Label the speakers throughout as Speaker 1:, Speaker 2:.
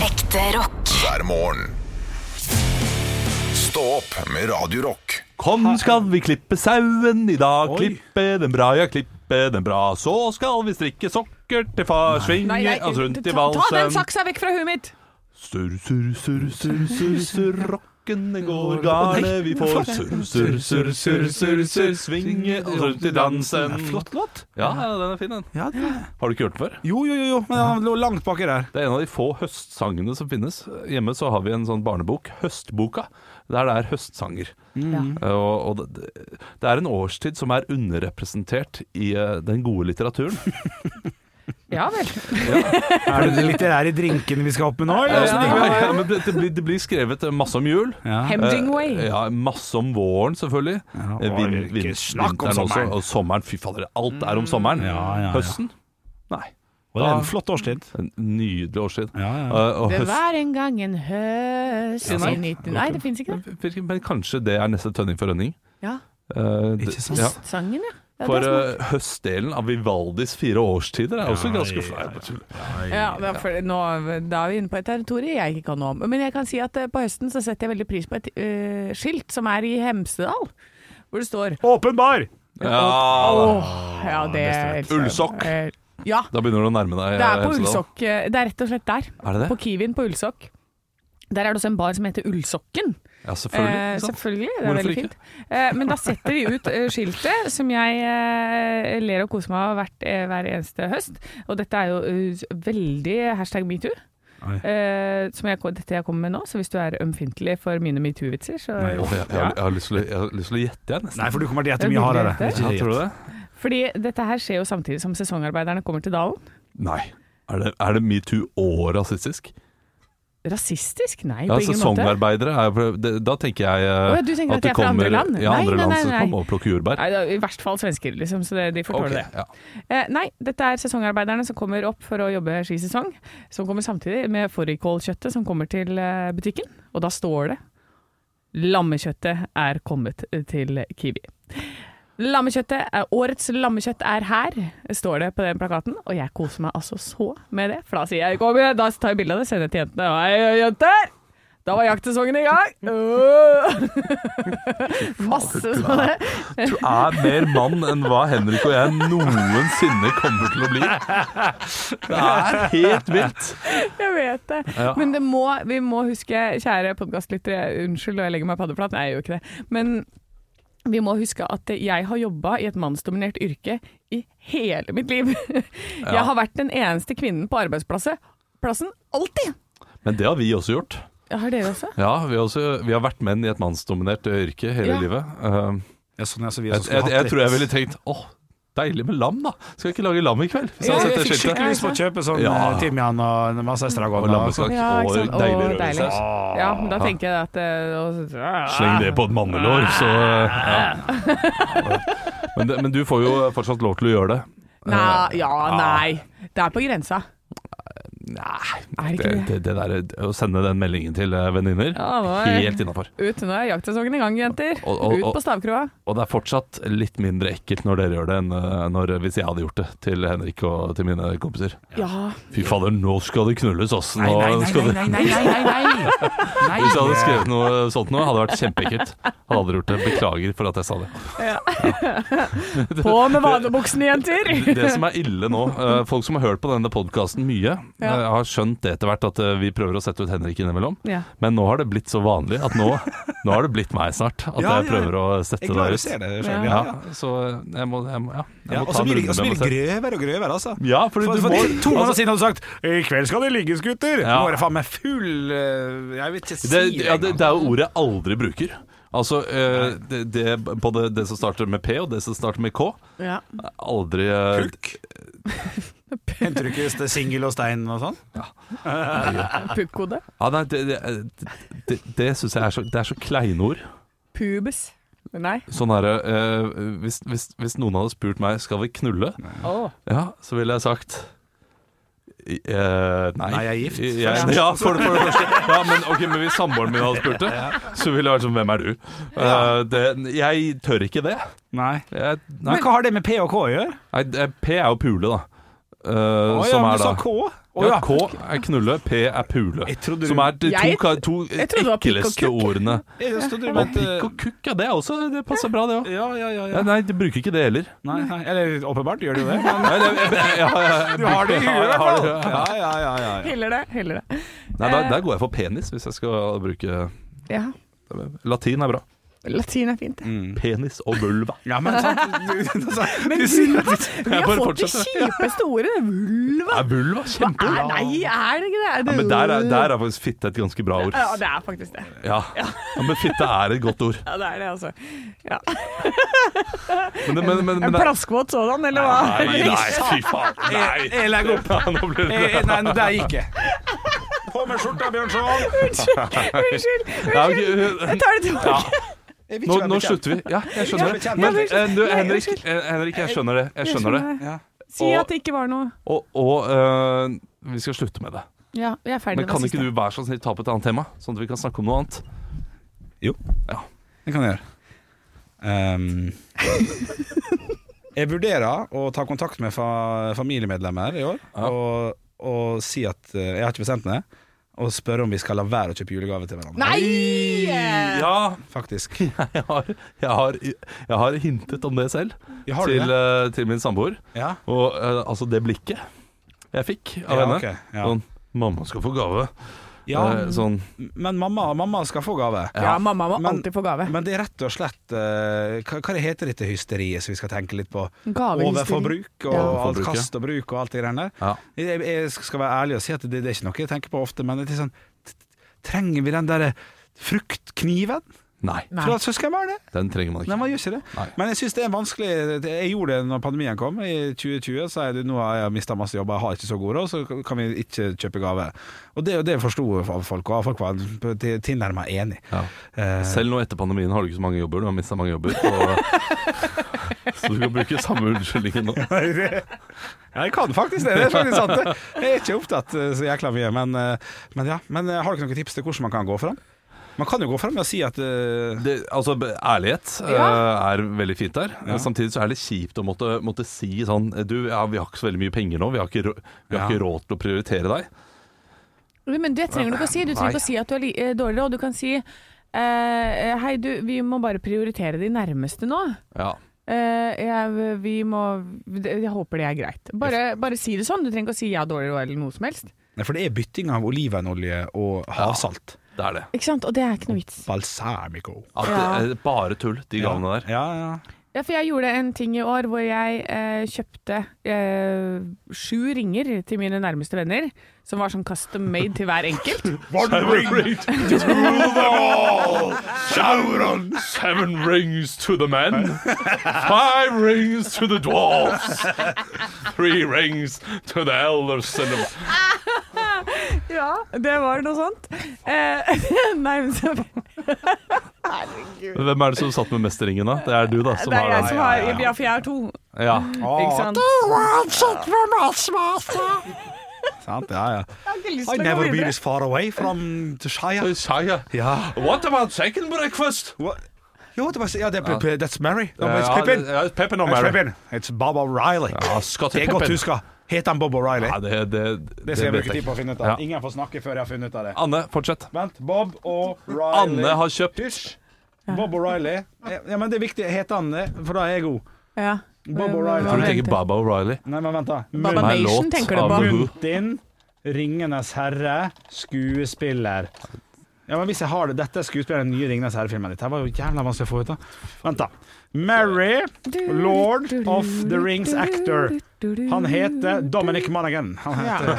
Speaker 1: Ekte rock.
Speaker 2: hver morgen. Stå opp med Radio Rock.
Speaker 3: Kom, skal vi klippe sauen i dag.
Speaker 4: Oi.
Speaker 3: Klippe den bra, ja, klippe den bra. Så skal vi strikke sokker til far. Svinge
Speaker 5: Nei, nei,
Speaker 3: oss rundt i
Speaker 5: ta, ta den
Speaker 3: valsen.
Speaker 5: saksa vekk fra huet mitt!
Speaker 3: Surr, surr, surr, surr, surr, surr. Rockene går, garnet vi får. Surr, surr, surr, surr, surr, surr. Svinge oss rundt i dansen.
Speaker 4: Flott låt.
Speaker 3: Ja, ja, den er fin, den.
Speaker 4: Ja, det-
Speaker 3: Har du ikke hørt den før?
Speaker 4: jo, jo, jo, jo, men han lå langt baki der.
Speaker 3: Det er en av de få høstsangene som finnes. Hjemme så har vi en sånn barnebok, Høstboka, der det er høstsanger. Eh, Og, og det, det er en årstid som er underrepresentert i eh, den gode litteraturen.
Speaker 5: Ja vel.
Speaker 4: Er det de litterære drinkene vi skal opp med nå?
Speaker 3: Eh,
Speaker 4: Eller? hvordan ligger vi an?
Speaker 3: ja, men det, det, blir, det blir skrevet eh, masse om jul.
Speaker 4: Ja.
Speaker 5: Hemdingway.
Speaker 3: Eh, ja, masse om våren, selvfølgelig.
Speaker 4: Ja,
Speaker 3: Eh, vin-
Speaker 4: og ikke
Speaker 3: vin-
Speaker 4: snakk om
Speaker 3: vinteren også,
Speaker 4: sommeren. Mm.
Speaker 3: Og sommeren. Fy fader, alt er om sommeren.
Speaker 4: Ja, ja, ja.
Speaker 3: Høsten? Nei.
Speaker 4: Og det er en flott årstid.
Speaker 3: En nydelig årstid.
Speaker 4: Ja, ja.
Speaker 3: Eh, og
Speaker 5: Det
Speaker 3: høst-
Speaker 5: var en gang en høst
Speaker 3: Ja,
Speaker 5: i
Speaker 3: sant.
Speaker 5: 19... Nei, det fins ikke det.
Speaker 3: Men kanskje det er neste tønning for rønning?
Speaker 5: Ja.
Speaker 3: Eh, det-
Speaker 4: Ikke sant?
Speaker 3: Ja.
Speaker 5: Sangen, ja. Det er
Speaker 3: For
Speaker 5: det som er-
Speaker 3: eh, høstdelen av Vivaldis fire årstider er også
Speaker 4: Ja,
Speaker 3: ganske
Speaker 4: ja,
Speaker 3: flau. eh,
Speaker 5: Ja, da, for, nå, da er vi inne på et territorium jeg ikke kan noe om. Men jeg kan si at eh, på høsten så setter jeg veldig pris på et eh, skilt som er i Hemsedal, hvor det står
Speaker 4: Åpenbar!
Speaker 3: Ja,
Speaker 5: Åh, ja, det elsker jeg.
Speaker 3: Ullsokk.
Speaker 5: Eh, Ja,
Speaker 3: da begynner du å nærme deg.
Speaker 5: det er på
Speaker 3: Hemsedal.
Speaker 5: Ullsokk. eh, Det er rett og slett der.
Speaker 3: Er det det?
Speaker 5: På Kiwien på Ullsokk. Der er det også en bar som heter Ullsokken.
Speaker 3: Ja, selvfølgelig.
Speaker 5: Eh,
Speaker 3: ikke sant?
Speaker 5: selvfølgelig, det er
Speaker 3: liksom? Hvorfor
Speaker 5: veldig
Speaker 3: ikke?
Speaker 5: fint. Eh, men da setter de ut eh, skiltet, som jeg eh, ler og koser meg av hvert, eh, hver eneste høst. Og dette er jo eh, veldig hashtag metoo.
Speaker 4: Oi.
Speaker 5: Eh, som jeg, dette jeg kommer med nå, så hvis du er ømfintlig for mine metoo-vitser, så
Speaker 4: Nei,
Speaker 3: Åh, jeg, jeg, har- jeg, har lyst til å- jeg har lyst til å gjette, jeg, nesten.
Speaker 4: Nei, for du kommer til å
Speaker 5: Det
Speaker 4: gjette
Speaker 5: er
Speaker 4: mye hardere.
Speaker 5: billig,
Speaker 3: Ja, tror du det?
Speaker 5: Fordi dette her skjer jo samtidig som sesongarbeiderne kommer til dalen.
Speaker 3: Nei. Er det, er det metoo og rasistisk?
Speaker 5: Rasistisk? Nei,
Speaker 3: Ja,
Speaker 5: på ingen måte.
Speaker 3: Sesongarbeidere er jo det- Da tenker jeg eh,
Speaker 5: Åh, du tenker at
Speaker 3: det
Speaker 5: de er fra andre land?
Speaker 3: Ja,
Speaker 5: Nei,
Speaker 3: andre
Speaker 5: nei,
Speaker 3: land
Speaker 5: nei,
Speaker 3: som
Speaker 5: nei.
Speaker 3: kommer og plukker jordbær.
Speaker 5: Nei, da, I verst fall svensker, liksom, så det, de får
Speaker 3: Ok,
Speaker 5: tåle det.
Speaker 3: ja.
Speaker 5: Eh, nei, dette er sesongarbeiderne som kommer opp for å jobbe skisesong. Som kommer samtidig med fårikålkjøttet som kommer til eh, butikken. Og da står det 'Lammekjøttet er kommet til Kiwi'. Lammekjøttet, eh, Årets lammekjøtt er her, står det på den plakaten. Og jeg koser meg altså så med det. For da sier jeg 'kom igjen', da tar jeg bilde av det og sender det til jentene. Hei, jenter! Da var jaktsesongen i gang! Øh. Masse sånn sånne.
Speaker 3: Du er mer mann enn hva Henrik og jeg noensinne kommer til å bli. Det er helt vilt.
Speaker 5: Jeg vet det.
Speaker 3: Ja.
Speaker 5: Men det må, vi må huske, kjære podkastlyttere, unnskyld og jeg legger meg paddeflat, nei jeg gjør ikke det. Men vi må huske at jeg har jobba i et mannsdominert yrke i hele mitt liv. Jeg har vært den eneste kvinnen på arbeidsplassen. Plassen alltid!
Speaker 3: Men det har vi også gjort.
Speaker 5: Har dere også?
Speaker 3: Ja, vi har, også, vi har vært menn i et mannsdominert yrke hele
Speaker 5: Ja.
Speaker 3: livet. Eh,
Speaker 4: Ja, sånn, ja, så vi
Speaker 3: jeg,
Speaker 4: også skulle
Speaker 3: jeg,
Speaker 4: hatt
Speaker 3: jeg
Speaker 4: rett.
Speaker 3: tror jeg ville tenkt åh, deilig med lam, da. Skal jeg ikke lage lam i kveld? Hvis
Speaker 5: Ja,
Speaker 3: jeg
Speaker 4: Jeg
Speaker 3: setter
Speaker 4: fikk
Speaker 3: skiltet.
Speaker 4: skikkelig lyst på å kjøpe sånn
Speaker 3: Ja.
Speaker 4: eh, timian og masse
Speaker 3: Og
Speaker 4: estragon. og- sånn.
Speaker 3: lammeskak og
Speaker 5: ikke sant? Å,
Speaker 3: deilig
Speaker 5: deilig.
Speaker 3: rødsaus.
Speaker 5: Ja, men da tenker jeg at eh, og-
Speaker 3: Ah. Sleng det på et mannelår, så ja. men, det, men du får jo fortsatt lov til å gjøre det.
Speaker 5: Nei, ja, nei. Det er på grensa.
Speaker 3: Nei,
Speaker 5: Er det
Speaker 3: det,
Speaker 5: ikke det?
Speaker 3: det, det der, å sende den meldingen til eh, venninner,
Speaker 5: Ja, nå er-
Speaker 3: helt innafor.
Speaker 5: Ut, nå er jaktsesongen i gang, jenter.
Speaker 3: Og- og-
Speaker 5: Ut på stavkroa.
Speaker 3: Og det er fortsatt litt mindre ekkelt når dere gjør det, enn eh, når, hvis jeg hadde gjort det til Henrik og til mine kompiser.
Speaker 5: Ja.
Speaker 3: Fy fader, nå skal det knulles, ass. Nå skal det-
Speaker 4: nei, nei, nei, nei.
Speaker 3: Hvis jeg hadde skrevet noe sånt nå, hadde det vært kjempeekkelt. Hadde aldri gjort det. Beklager for at jeg sa det.
Speaker 5: På med vanebuksene, jenter!
Speaker 3: Det som er ille nå, eh, folk som har hørt på denne podkasten mye, eh,
Speaker 5: Ja.
Speaker 3: har skjønt det etter hvert at eh, vi prøver å sette ut Henrik innimellom.
Speaker 5: Ja.
Speaker 3: Men nå har det blitt så vanlig at nå, nå har det blitt meg snart. At
Speaker 4: Ja,
Speaker 3: jeg
Speaker 4: ja.
Speaker 3: prøver å sette
Speaker 4: Jeg
Speaker 3: deg
Speaker 4: klarer å
Speaker 3: ut.
Speaker 4: se det selv,
Speaker 3: Ja,
Speaker 4: ja. ja.
Speaker 3: så jeg må, jeg må, ja, jeg må
Speaker 4: Ja, og
Speaker 3: ta
Speaker 4: så
Speaker 3: en
Speaker 4: blir det,
Speaker 3: runde
Speaker 4: og så
Speaker 3: med
Speaker 4: blir
Speaker 3: meg
Speaker 4: det
Speaker 3: selv.
Speaker 4: grøvere og grøvere, altså.
Speaker 3: Ja, fordi
Speaker 4: For,
Speaker 3: du
Speaker 4: for
Speaker 3: må
Speaker 4: to måneder
Speaker 3: altså,
Speaker 4: siden hadde du sagt 'I kveld skal det ligges, gutter'.
Speaker 3: Ja.
Speaker 4: Nå er det faen meg full eh, Jeg vil ikke si
Speaker 3: det,
Speaker 4: det.
Speaker 3: ja, det,
Speaker 4: engang.
Speaker 3: det er jo ordet jeg aldri bruker. Altså eh, det, det, både det som starter med P og det som starter med K.
Speaker 5: Ja.
Speaker 3: Aldri eh,
Speaker 4: Pulk. Henter du ikke singel og stein og sånn?
Speaker 5: Pukkode.
Speaker 3: ja, nei, Det, det, det, det syns jeg er så, det er så kleinord.
Speaker 5: Pubes. Nei.
Speaker 3: Sånn herre eh, hvis, hvis, hvis noen hadde spurt meg Skal vi knulle,
Speaker 5: Åh.
Speaker 3: ja, så ville jeg sagt eh, nei.
Speaker 4: Nei, jeg er gift.
Speaker 3: Jeg, ja, for, det- for det første. Ja, men, ok, men hvis samboeren min hadde spurt det, så ville jeg vært sånn Hvem er du? Eh, det, jeg tør ikke det.
Speaker 4: Nei.
Speaker 3: Jeg,
Speaker 4: Men
Speaker 3: nei,
Speaker 4: hva har det med P og K å gjøre?
Speaker 3: nei, det- P er jo pule, da. eh,
Speaker 4: Å ja,
Speaker 3: som
Speaker 4: men
Speaker 3: er
Speaker 4: du
Speaker 3: da
Speaker 4: sa K. Å
Speaker 3: ja,
Speaker 4: ja.
Speaker 3: K er knulle, P er pule.
Speaker 4: Jeg trodde du-
Speaker 3: Som er de to,
Speaker 5: Jeg-
Speaker 3: ka- to
Speaker 5: jeg trodde det var pikk og
Speaker 3: ekleste
Speaker 5: kukk.
Speaker 3: ordene.
Speaker 4: Jeg trodde du
Speaker 3: Og
Speaker 4: mente
Speaker 3: pikk og kukk, ja, det, er også, det passer bra, det òg.
Speaker 4: Ja, ja,
Speaker 3: Ja,
Speaker 4: ja. ja.
Speaker 3: nei, de bruker ikke det heller.
Speaker 4: Nei, nei. Eller åpenbart gjør du det. Men
Speaker 3: Nei, det- jeg- jeg- jeg- jeg-
Speaker 4: du har det i
Speaker 3: Ja,
Speaker 4: huet, i
Speaker 3: jeg
Speaker 4: hvert
Speaker 3: har
Speaker 4: fall.
Speaker 3: det,
Speaker 4: Ja, ja, ja, ja, ja.
Speaker 5: Heller det. Heller det.
Speaker 3: Nei, der, der går jeg for penis, hvis jeg skal bruke
Speaker 5: Ja.
Speaker 3: Latin er bra.
Speaker 5: Latin er fint.
Speaker 3: Mm. Penis og vulva.
Speaker 4: Ja, men sant du- du, sa- du sier
Speaker 5: Vulva! Vi har
Speaker 3: bare
Speaker 5: fått de
Speaker 3: fortsetter.
Speaker 5: kjipeste ordene. Vulva!
Speaker 3: Er vulva
Speaker 5: Nei,
Speaker 3: kjempebra?
Speaker 5: nei, er det ikke det? Er det
Speaker 3: Ja, men der er, der er faktisk fitte et ganske bra ord.
Speaker 5: Ja, det er faktisk det.
Speaker 3: Ja. ja, Men fitte er et godt ord.
Speaker 5: Ja, det er det, altså. Ja.
Speaker 3: Men, det- men, men, men
Speaker 5: En
Speaker 3: det-
Speaker 5: plaskvåt sådan, eller hva?
Speaker 3: Nei, nei, fy faen. Nei.
Speaker 4: Jeg- jeg legger opp.
Speaker 3: Ja, nå blir
Speaker 4: Eh, eh,
Speaker 3: det
Speaker 4: Nei, der gikk jeg. På med skjorta, Bjørnson!
Speaker 5: Unnskyld!
Speaker 3: Ja,
Speaker 5: unnskyld.
Speaker 3: ok, øh,
Speaker 5: Jeg tar det tilbake.
Speaker 3: Nå, nå slutter vi. Ja, jeg skjønner det. Men eh, du,
Speaker 5: Nei,
Speaker 3: Henrik,
Speaker 5: unnskyld.
Speaker 3: eh, Henrik, jeg skjønner det. Jeg skjønner det.
Speaker 4: Ja.
Speaker 5: Si
Speaker 3: Og-
Speaker 5: at det ikke var noe.
Speaker 3: Og, og eh, vi skal slutte med det.
Speaker 5: Ja, jeg er ferdig
Speaker 3: Men kan ikke du vær så snill ta opp et annet tema, sånn at vi kan snakke om noe annet?
Speaker 4: Det kan jeg gjøre. Ehm, jeg vurderer å ta kontakt med fa familiemedlemmer i år
Speaker 3: Ja.
Speaker 4: og, og si at eh, jeg har ikke bestemt meg, og spørre om vi skal la være å kjøpe julegave til hverandre.
Speaker 5: Nei!
Speaker 3: Ja,
Speaker 4: Faktisk.
Speaker 3: jeg har, jeg har, jeg har hintet om det selv
Speaker 4: Ja, har du
Speaker 3: til,
Speaker 4: det?
Speaker 3: eh, til min samboer.
Speaker 4: Ja.
Speaker 3: Og eh, altså, det blikket jeg fikk av
Speaker 4: Ja,
Speaker 3: henne
Speaker 4: ok, ja.
Speaker 3: Sånn 'Mamma skal få gave'.
Speaker 4: Ja,
Speaker 3: Eh, sånn
Speaker 4: men mamma, mamma skal få gave.
Speaker 5: Ja, mamma må
Speaker 4: Men-
Speaker 5: alltid få gave.
Speaker 4: Men det er rett og slett eh, Hva, hva det heter dette hysteriet som vi skal tenke litt på?
Speaker 5: Gavehysteri.
Speaker 4: Overforbruk og
Speaker 5: Ja.
Speaker 4: alt
Speaker 3: Overforbruk, ja.
Speaker 4: kast og bruk og alt det greiene der.
Speaker 3: Ja.
Speaker 4: Jeg, jeg skal være ærlig og si at det, det er ikke noe jeg tenker på ofte, men det er sånn t- Trenger vi den der fruktkniven
Speaker 3: Nei,
Speaker 5: Nei.
Speaker 4: fra søskenbarnet?
Speaker 3: den trenger man
Speaker 4: Nei,
Speaker 3: ikke.
Speaker 4: man gjør ikke det.
Speaker 3: Nei.
Speaker 4: Men jeg syns det er vanskelig Jeg gjorde det når pandemien kom i 2020. Så er det, nå har jeg mista masse jobber, jeg har ikke så god råd, så kan vi ikke kjøpe gave. Og det, det forsto folk, og folk var tilnærma enig.
Speaker 3: Ja.
Speaker 4: Eh,
Speaker 3: Selv nå etter pandemien har du ikke så mange jobber. Du har mista mange jobber. Og, så du kan bruke samme unnskyldningen nå.
Speaker 4: Nei, det- Ja, jeg kan faktisk det. Det er faktisk sant. det. Jeg er ikke opptatt eh, så jækla mye. Men, eh, men ja. Men eh, har dere noen tips til hvordan man kan gå fram? Man kan jo gå fram med å si at eh,
Speaker 3: det, altså, b- ærlighet eh,
Speaker 5: Ja.
Speaker 3: er veldig fint der.
Speaker 4: Ja.
Speaker 3: Samtidig så er det kjipt å måtte, måtte si sånn Du, ja, vi har ikke så veldig mye penger nå. Vi har ikke, rå- vi har
Speaker 4: Ja.
Speaker 3: ikke råd til å prioritere deg.
Speaker 5: Men det trenger du ikke å si. Du trenger ikke å si at du er li eh, dårlig, og du kan si eh, Hei, du, vi må bare prioritere de nærmeste nå.
Speaker 3: Ja.
Speaker 5: Eh, jeg, vi må Jeg håper det er greit. Bare, bare si det sånn. Du trenger ikke å si jeg er dårlig råd eller noe som helst.
Speaker 4: Nei, For det er bytting av olivenolje og havsalt.
Speaker 3: Det er det.
Speaker 5: Ikke sant? Og det er ikke noe vits.
Speaker 4: Balsamico.
Speaker 3: At det er bare tull, de gavene der.
Speaker 4: Ja, ja.
Speaker 5: Ja, for jeg gjorde en ting i år hvor jeg eh, kjøpte eh, sju ringer til mine nærmeste venner, som var sånn custom made til hver enkelt.
Speaker 3: One ring to rule them all! Sauron! Seven rings to the men. Five rings to the dwarfs. Three rings to the elders.
Speaker 5: Ja, det var noe sånt. Eh, nei, men så Herregud.
Speaker 3: Hvem er det som satt med mest ringen, da? Det er du, da. Som
Speaker 5: Det er
Speaker 3: har
Speaker 5: jeg
Speaker 3: den.
Speaker 5: som har Ja, for jeg har to,
Speaker 3: Ja.
Speaker 5: ikke sant?
Speaker 4: Sant? ja, ja.
Speaker 5: Jeg har ikke lyst
Speaker 4: I
Speaker 5: til å gå
Speaker 4: never be
Speaker 5: videre.
Speaker 4: this far away from the Shire.
Speaker 3: Shire.
Speaker 4: Ja.
Speaker 3: What about second breakfast?
Speaker 4: What? Jo, det var, ja, det er, pe- pe- that's Mary. No, it's
Speaker 3: Ja,
Speaker 4: Pippin.
Speaker 3: det- ja, it's Pippin og
Speaker 4: It's
Speaker 3: Mary.
Speaker 4: Pippin. It's Bob O'Reilly.
Speaker 3: Ja, Scotty
Speaker 4: Det er godt
Speaker 3: Pippin.
Speaker 4: huska. Heter han Bob O'Reilly?
Speaker 3: Ja, det, det,
Speaker 4: Det skal jeg
Speaker 3: vet
Speaker 4: bruke tid på å finne ut av.
Speaker 3: Ja.
Speaker 4: Ingen får snakke før jeg har funnet ut av det.
Speaker 3: Anne, fortsett.
Speaker 4: Vent, Bob og Riley.
Speaker 3: Anne har kjøpt
Speaker 4: Hysj! Bob O'Reilly. Ja, men det er viktig. Heter han det? For da er jeg god.
Speaker 5: Ja.
Speaker 4: Bob O'Reilly.
Speaker 3: Tror du tenker Baba O'Reilly?
Speaker 4: Nei, men vent, da.
Speaker 5: Baba
Speaker 3: Nei,
Speaker 5: Nation
Speaker 3: låt
Speaker 5: tenker du
Speaker 3: av
Speaker 5: på.
Speaker 3: Who.
Speaker 4: Muntin, Ringenes herre, skuespiller. Ja, men hvis jeg har det Dette er skuespilleren i den nye Ringenes herre-filmen. Dette var jo jævla vanskelig å få ut av. Vent, da. Mary, Lord of the Rings actor. Han heter Dominic Monaghan. Han
Speaker 5: Ja.
Speaker 4: heter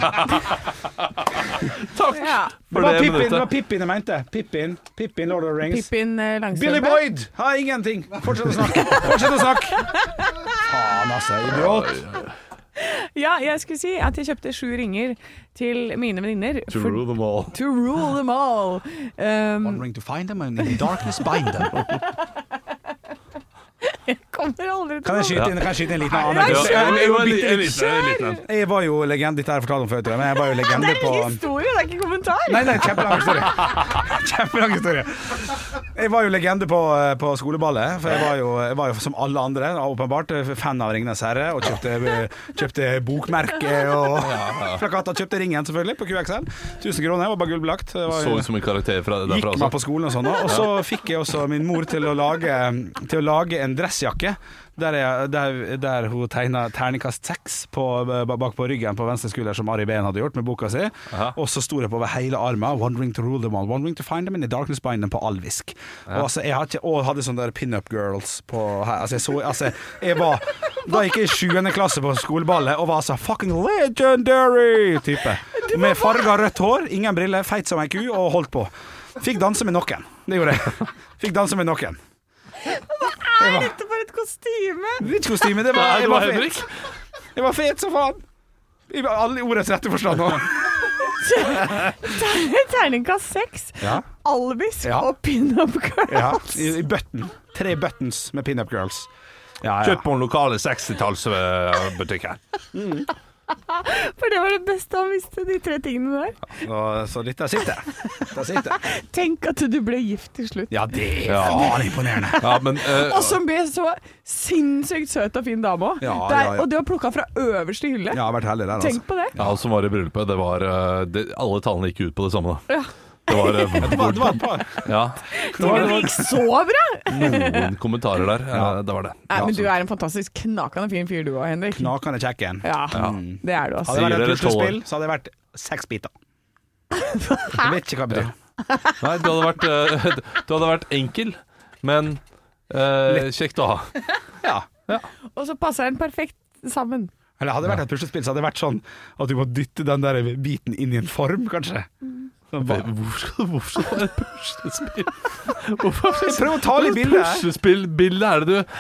Speaker 3: Takk
Speaker 5: ja.
Speaker 4: Det
Speaker 3: for
Speaker 4: var
Speaker 3: det
Speaker 4: Pippin, det var
Speaker 3: minuttet.
Speaker 4: Pippin jeg mente. Pippin, Pippin Lord of the Rings.
Speaker 5: Pippin eh,
Speaker 4: Billy
Speaker 5: Langstrømpe.
Speaker 4: Boyd! Har ingenting. Fortsett å snakke. Fortsett å snakke. Faen, altså. Idiot.
Speaker 5: Ja, jeg skulle si at jeg kjøpte sju ringer til mine venninner.
Speaker 3: To rule them all.
Speaker 5: to rule them all. Um,
Speaker 4: ring to find them and in the darkness bind them.
Speaker 5: kommer aldri til
Speaker 4: Kan
Speaker 5: å
Speaker 4: jeg skyte inn, kan jeg skyte inn en liten
Speaker 5: Nei,
Speaker 3: Ja,
Speaker 4: anekdote?
Speaker 5: kjør!
Speaker 3: en- en- en liten- en liten- en liten en.
Speaker 4: Jeg var jo legende Dette har jeg fortalt om før, tror jeg, men jeg var jo
Speaker 5: Det
Speaker 4: legende
Speaker 5: er
Speaker 4: på
Speaker 5: en historie, det er ikke kommentar.
Speaker 4: Nei, nei, kjempelang historie. Kjempelang historie. Jeg var jo legende på, eh, på skoleballet, for jeg var, jo, jeg var jo som alle andre åpenbart fan av 'Ringenes herre' og kjøpte, eh, kjøpte bokmerke og plakater. Kjøpte ringen, selvfølgelig, på QXL. 1000 kroner, var bare gullbelagt. Det var
Speaker 3: Så
Speaker 4: jo-
Speaker 3: ut som en karakter fra
Speaker 4: Gikk
Speaker 3: derfra.
Speaker 4: meg
Speaker 3: Altså.
Speaker 4: på skolen og sånn Og så fikk jeg også min mor til å lage, til å lage en dressjakke Der, jeg, der, der hun tegnet terningkast 6 på, bak på ryggen på venstre skulder Som Ari Behn hadde gjort med boka si
Speaker 3: Aha.
Speaker 4: Og så sto det på over hele armen Wandering to rule them all Wandering to find them in the darkness bind them på alvisk og, altså, jeg hadde, ikke- og hadde sånne der pin-up girls på her Altså jeg så, altså jeg var Da gikk jeg i 7. klasse på skoleballet Og var altså fucking legendary type Med farga rødt hår, ingen briller, feit som en ku og holdt på Fikk danse med noen. Det gjorde jeg. Fikk danse med noen. Jeg var,
Speaker 5: Dette var et kostyme!
Speaker 4: det var ikke kostyme, det var,
Speaker 3: Nei,
Speaker 4: jeg,
Speaker 3: det
Speaker 4: var
Speaker 3: var
Speaker 4: fet.
Speaker 3: Henrik.
Speaker 4: jeg var fet som faen. I alle ordets rette forstand nå.
Speaker 5: Terningkast seks.
Speaker 4: Ja.
Speaker 5: Albisk
Speaker 4: Ja.
Speaker 5: og pinup girl.
Speaker 4: Ja, i, I button. Tre buttons med pinup girls. Ja, ja.
Speaker 3: Kjøpt på den lokale 60-tallsbutikken.
Speaker 5: For det var det beste han visste, de tre tingene der.
Speaker 4: Og, så litt der sitter jeg. Der sitter jeg.
Speaker 5: Tenk at du ble gift til slutt.
Speaker 4: Ja, det er
Speaker 3: Ja.
Speaker 4: faen imponerende.
Speaker 3: Ja, men eh,
Speaker 5: Og som ble så sinnssykt søt og fin dame òg.
Speaker 4: Ja,
Speaker 5: Det er-
Speaker 4: ja, ja.
Speaker 5: Og du har plukka fra øverste hylle.
Speaker 4: Jeg har vært heldig der, altså.
Speaker 5: Tenk på det.
Speaker 3: ja, han som var i bryllupet, det var eh, det, Alle tallene gikk ut på det samme, da. Det
Speaker 5: Ja.
Speaker 3: var, eh,
Speaker 4: Det var, det var et par.
Speaker 3: ja,
Speaker 5: Det var- det gikk så bra!
Speaker 3: noen kommentarer der. eh, det var det.
Speaker 5: Nei, men du er en fantastisk knakende fin fyr du òg, Henrik.
Speaker 4: Knakende kjekken.
Speaker 5: Ja, det er du, altså.
Speaker 4: Hadde
Speaker 3: Sier
Speaker 4: det vært et
Speaker 3: dere tolv år?
Speaker 4: puslespill, så hadde det vært seks biter. Jeg vet ikke hva det betyr.
Speaker 3: Nei, du hadde vært, eh, du hadde vært enkel, men eh, kjekt å ha.
Speaker 4: Ja.
Speaker 5: Og så passer den perfekt sammen.
Speaker 4: Eller hadde det vært et puslespill, så hadde det vært sånn at du må dytte den der biten inn i en form, kanskje. Sånn,
Speaker 3: Hva-
Speaker 4: bare,
Speaker 3: Hvorfor skal hvorfor skal det være et puslespill? Hvorfor er det
Speaker 4: prøv å ta litt bilde her.
Speaker 3: Puslespillbilde er det du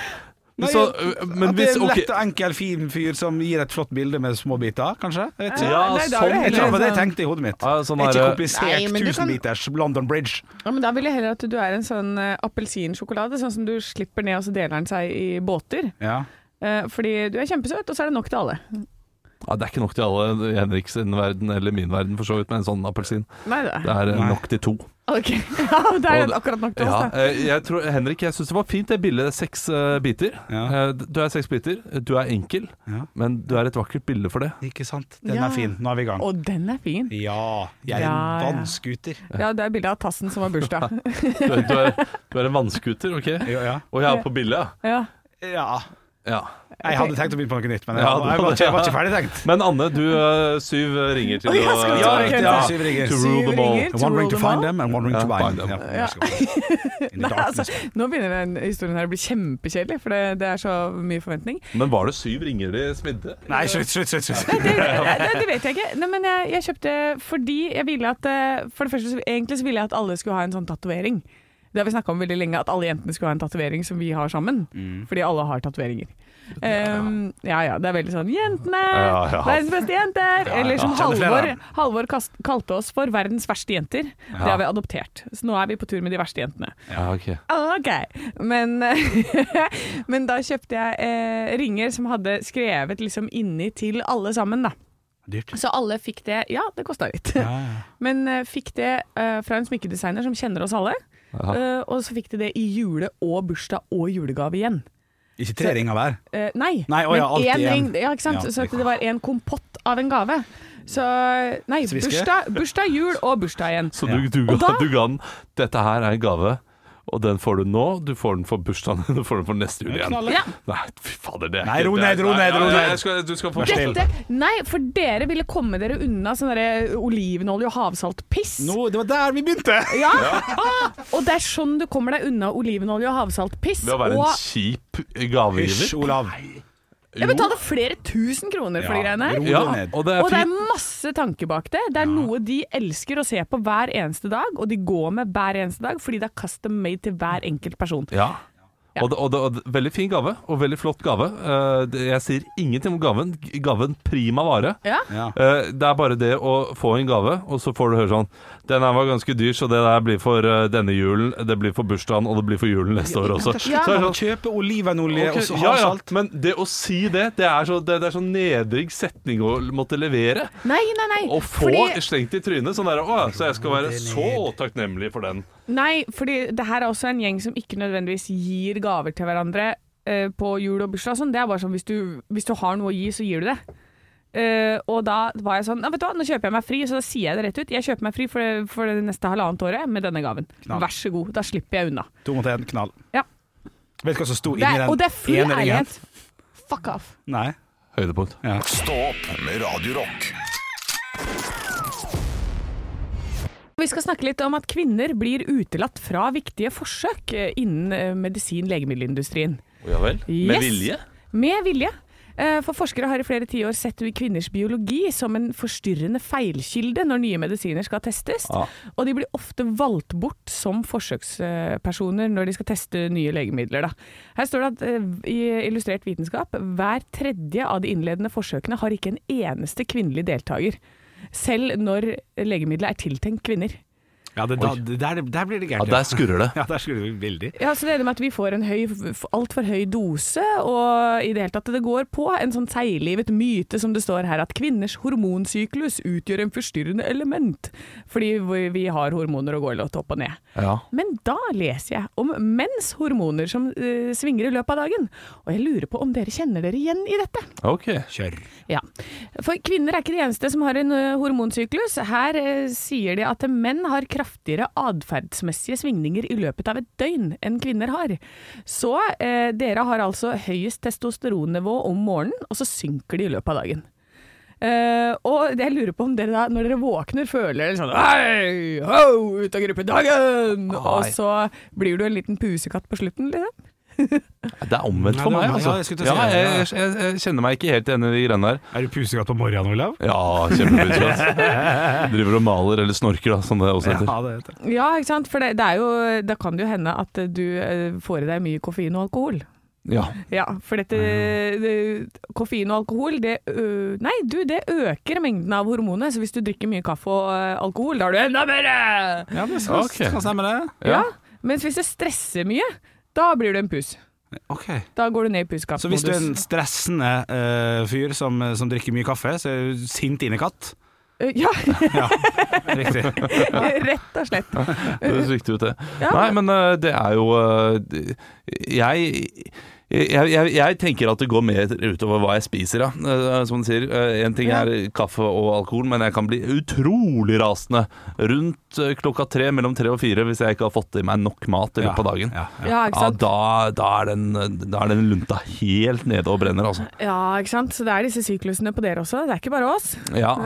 Speaker 4: Nei,
Speaker 3: så, øh,
Speaker 4: at
Speaker 3: Men
Speaker 4: det er
Speaker 3: hvis
Speaker 4: en
Speaker 3: ok,
Speaker 4: lett og enkel, fin fyr som gir et flott bilde med små biter, kanskje? Jeg vet ikke.
Speaker 3: Ja,
Speaker 5: Nei, da er det
Speaker 3: sånn,
Speaker 4: Jeg tror det var det jeg
Speaker 5: sånn-
Speaker 4: tenkte i hodet mitt.
Speaker 3: ja, sånn
Speaker 4: Ikke
Speaker 3: er,
Speaker 5: Nei,
Speaker 4: komplisert
Speaker 5: men du kan-
Speaker 4: tusenbiters London Bridge.
Speaker 5: Ja, men Da vil jeg heller at du er en sånn eh, appelsinsjokolade, sånn som du slipper ned og så deler den seg i båter.
Speaker 4: Ja.
Speaker 5: Eh, fordi du er kjempesøt, og så er det nok til alle.
Speaker 3: ja, Det er ikke nok til alle i Henriks sin verden eller min verden for så vidt med en sånn appelsin.
Speaker 5: Nei, det er
Speaker 3: Det er eh,
Speaker 4: Nei.
Speaker 3: nok til to.
Speaker 5: Ok, ja, det er
Speaker 3: Og-
Speaker 5: akkurat nok til
Speaker 3: Ja,
Speaker 5: oss. da.
Speaker 3: eh, jeg tror, Henrik, jeg syns det var fint det bildet. Seks eh, biter.
Speaker 4: Ja.
Speaker 3: Eh, Du er seks biter, du er enkel,
Speaker 4: Ja.
Speaker 3: men du er et vakkert bilde for det.
Speaker 4: Ikke sant? Den
Speaker 5: Ja.
Speaker 4: er fin. Nå er vi i gang.
Speaker 5: Og den er fin.
Speaker 4: Ja, jeg er
Speaker 5: Ja, ja.
Speaker 4: en vannskuter.
Speaker 5: Ja, det er bildet av tassen som har bursdag.
Speaker 3: Du er, du er, du er en vannskuter, OK?
Speaker 4: Ja, ja.
Speaker 3: Og jeg er på bildet,
Speaker 5: Ja.
Speaker 4: ja.
Speaker 3: ja. ja.
Speaker 4: Jeg hadde tenkt å begynne på noe nytt, men jeg,
Speaker 3: Ja, det
Speaker 4: var- jeg,
Speaker 3: var
Speaker 4: var,
Speaker 3: det,
Speaker 4: ikke, jeg
Speaker 3: ja.
Speaker 4: var ikke ferdig tenkt.
Speaker 3: Men Anne, du eh, syv ringer til
Speaker 5: Å, ja,
Speaker 3: å-
Speaker 5: skal
Speaker 4: Ja,
Speaker 5: vi ta det?
Speaker 4: riktig. Ja. Syv ringer.
Speaker 3: To rule
Speaker 5: Syv
Speaker 3: them all.
Speaker 5: ringer, to
Speaker 4: One ring to
Speaker 5: rule them
Speaker 4: find
Speaker 5: all.
Speaker 4: them, and one ring to
Speaker 3: Ja,
Speaker 4: bind
Speaker 3: find them.
Speaker 4: them. Ja, vær så god. In the
Speaker 5: Nei, altså,
Speaker 4: darkness.
Speaker 5: nå begynner den historien her å bli kjempekjedelig, for det, det er så mye forventning.
Speaker 3: Men var det syv ringer de smidde?
Speaker 4: Nei, slutt, slutt, slutt. slutt.
Speaker 5: Det, det, det vet jeg ikke. Nei, men jeg, jeg kjøpte fordi jeg ville at eh, For det første, så- egentlig så ville jeg at alle skulle ha en sånn tatovering. Det har vi snakka om veldig lenge, at alle jentene skulle ha en tatovering som vi har sammen. Fordi alle har tatoveringer. Um, ja ja, det er veldig sånn 'Jentene!
Speaker 3: Ja, ja.
Speaker 5: Verdens beste jenter!' Eller som
Speaker 4: Kjenner flere av
Speaker 5: Halvor,
Speaker 4: dem.
Speaker 5: Halvor kast, kalte oss for 'verdens verste jenter'. Det har vi adoptert. Så nå er vi på tur med de verste jentene.
Speaker 3: Ja, ok.
Speaker 5: Ok, men, men da kjøpte jeg eh, ringer som hadde skrevet liksom inni til alle sammen da.
Speaker 4: Dyrt.
Speaker 5: Så alle fikk det, ja det kostet litt,
Speaker 4: Ja, ja.
Speaker 5: men eh, fikk det eh, fra en smykkedesigner som kjenner oss alle,
Speaker 3: Aha.
Speaker 5: eh, og så fikk de det i jule og bursdag og julegave igjen.
Speaker 4: Ikke tre ringer hver.
Speaker 5: Eh, nei,
Speaker 4: Nei, å ja,
Speaker 5: men
Speaker 4: alltid
Speaker 5: én ring,
Speaker 4: en.
Speaker 5: ja, ikke sant?
Speaker 4: Ja,
Speaker 5: så at det var en kompott av en gave. Så nei,
Speaker 4: Sviske?
Speaker 5: bursdag, bursdag, jul og bursdag igjen.
Speaker 3: Så du, du,
Speaker 5: Og da-
Speaker 3: du ga den Dette her er en gave, og den får du nå. Du får den for bursdagen din, du får den for neste jul igjen.
Speaker 5: Ja.
Speaker 3: Nei, fy fader, det er
Speaker 4: Nei,
Speaker 3: ikke
Speaker 4: ro
Speaker 3: det
Speaker 4: ned,
Speaker 3: er-
Speaker 4: ro
Speaker 3: nei,
Speaker 4: ned,
Speaker 3: ja,
Speaker 4: ro
Speaker 3: ja,
Speaker 4: ned.
Speaker 3: jeg skal- Du skal få
Speaker 4: Vær stille.
Speaker 5: Dette, nei, for dere ville komme dere unna sånn derre olivenolje og havsaltpiss.
Speaker 4: Nå, det var der vi begynte!
Speaker 5: Ja. Ah, og det er sånn du kommer deg unna olivenolje og havsaltpiss.
Speaker 3: Ved å være
Speaker 5: og
Speaker 3: en kjip gavegiver.
Speaker 4: Hysj, Olav.
Speaker 5: jeg betaler flere tusen kroner for de
Speaker 4: Ja,
Speaker 5: greiene.
Speaker 4: ro
Speaker 3: Ja,
Speaker 4: deg ned.
Speaker 3: og det er
Speaker 5: Og det er
Speaker 3: fint.
Speaker 5: masse tanke bak det. Det er noe de elsker å se på hver eneste dag, og de går med hver eneste dag fordi det er custom made til hver enkelt person.
Speaker 3: Ja.
Speaker 5: Ja.
Speaker 3: Og, det, og, det, og det, veldig fin gave, og veldig flott gave. Eh, det- jeg sier ingenting om gaven. G- Gaven prima vare.
Speaker 5: Ja.
Speaker 4: Ja.
Speaker 3: Eh, det er bare det å få en gave, og så får du høre sånn Den her var ganske dyr, så det der blir for eh, denne julen, det blir for bursdagen, og det blir for julen neste år også.
Speaker 4: Slutt
Speaker 5: Ja.
Speaker 3: Så er det
Speaker 4: med å
Speaker 3: sånn,
Speaker 4: kjøpe olivenolje
Speaker 3: Ok,
Speaker 4: og så
Speaker 3: ja, ja,
Speaker 4: havsalt.
Speaker 3: men det å si det, det er så, det, det er så nedrig setning å måtte levere.
Speaker 5: Nei, nei, nei.
Speaker 3: Å få slengt i trynet sånn derre Å ja, så jeg skal være så takknemlig for den.
Speaker 5: Nei, fordi det her er også en gjeng som ikke nødvendigvis gir gaver til hverandre eh, på jul og bursdag. og Sånn. Det er bare sånn hvis du, hvis du har noe å gi, så gir du det. Eh, og da var jeg sånn ja, vet du hva, Nå kjøper jeg meg fri, så da sier jeg det rett ut. Jeg kjøper meg fri for det, for det neste halvannet året med denne gaven.
Speaker 4: Knall.
Speaker 5: Vær så god. Da slipper jeg unna.
Speaker 4: To mot én, knall.
Speaker 5: Ja.
Speaker 4: Vet du hva som sto
Speaker 5: Det
Speaker 4: inni
Speaker 5: er,
Speaker 4: den
Speaker 5: og det er full
Speaker 4: ene ringen?
Speaker 5: ærlighet. Fuck off.
Speaker 4: Nei.
Speaker 3: Høydepunkt.
Speaker 4: Ja.
Speaker 2: Stå opp med Radio Rock.
Speaker 5: Vi skal snakke litt om at kvinner blir utelatt fra viktige forsøk eh, innen eh, medisin-legemiddelindustrien.
Speaker 3: Ja vel?
Speaker 5: Yes. Med vilje. Eh, For forskere har i flere tiår sett kvinners biologi som en forstyrrende feilkilde når nye medisiner skal testes,
Speaker 3: Ah.
Speaker 5: og de blir ofte valgt bort som forsøkspersoner når de skal teste nye legemidler. Da. Her står det at eh, i Illustrert vitenskap hver tredje av de innledende forsøkene har ikke en eneste kvinnelig deltaker, selv når legemidlet er tiltenkt kvinner.
Speaker 4: Ja, det, da, det der, der blir det
Speaker 3: Ja,
Speaker 4: gærent.
Speaker 3: der skurrer det.
Speaker 4: ja, der skulle du veldig.
Speaker 5: Ja, så det er det med at vi får en høy, altfor høy dose, og i det hele tatt det går på en sånn seiglivet myte som det står her, at kvinners hormonsyklus utgjør en forstyrrende element, fordi vi- vi har hormoner og går litt opp og ned.
Speaker 3: Ja.
Speaker 5: Men da leser jeg om menns hormoner som eh, svinger i løpet av dagen, og jeg lurer på om dere kjenner dere igjen i dette.
Speaker 3: Ok.
Speaker 4: Kjør.
Speaker 5: Ja, for kvinner er ikke de eneste som har en ø, hormonsyklus. Her ø, sier de at menn har kraftigere atferdsmessige svingninger i løpet av et døgn enn kvinner har. Så ø, dere har altså høyest testosteronnivå om morgenen, og så synker de i løpet av dagen. Eh, og jeg lurer på om dere da, når dere våkner, føler dere sånn Hei, ho, ut av gruppedagen! Og så blir du en liten pusekatt på slutten, liksom.
Speaker 3: Det er omvendt
Speaker 4: Nei,
Speaker 3: for
Speaker 4: det er
Speaker 3: meg,
Speaker 4: omvendt.
Speaker 3: altså.
Speaker 4: Ja, jeg skulle til å
Speaker 3: Ja,
Speaker 4: si det.
Speaker 3: jeg, jeg, jeg, jeg kjenner meg ikke helt igjen i de greiene der.
Speaker 4: Er du pusekatt på morgenen, Olav?
Speaker 3: Ja, kjempebudskap. Driver og maler eller snorker, da, som det også heter.
Speaker 4: det heter det.
Speaker 5: Ja, ikke sant? For det, det er jo, da kan det jo hende at ø, du ø, får i deg mye koffein og alkohol.
Speaker 3: Ja.
Speaker 5: Ja, for dette
Speaker 4: Mm.
Speaker 5: det, Koffein og alkohol, det ø- Nei, du, det øker mengden av hormonet. Så hvis du drikker mye kaffe og ø, alkohol, da har du enda mer!
Speaker 4: Ja, det skal,
Speaker 3: Ok.
Speaker 4: skal stemme, det.
Speaker 5: Ja.
Speaker 3: Ja.
Speaker 5: Mens hvis du stresser mye, da blir du en pus.
Speaker 4: Ok.
Speaker 5: Da går du ned i
Speaker 4: Så hvis du er en
Speaker 5: puskapmodus.
Speaker 4: stressende eh, fyr som, som drikker mye kaffe, så er du sint innekatt?
Speaker 5: Ø, Ja,
Speaker 4: Riktig.
Speaker 5: rett og slett.
Speaker 3: Det høres riktig ut, det.
Speaker 5: Ja.
Speaker 3: Nei, men eh, det er jo eh, det- Jeg jeg, jeg, jeg tenker at det går mer utover hva jeg spiser, ja. Eh, Som du sier. Én ting
Speaker 5: Ja.
Speaker 3: er kaffe og alkohol, men jeg kan bli utrolig rasende rundt eh, klokka tre, mellom tre og fire, hvis jeg ikke har fått i meg nok mat i
Speaker 4: Ja,
Speaker 3: løpet av dagen.
Speaker 4: Ja, ja.
Speaker 5: Ja, ikke
Speaker 3: Ja,
Speaker 5: sant.
Speaker 3: da, da, er den, da er den lunta helt nede og brenner, altså.
Speaker 5: Ja, ikke sant? Så det er disse syklusene på dere også. Det er ikke bare oss.
Speaker 3: Ja.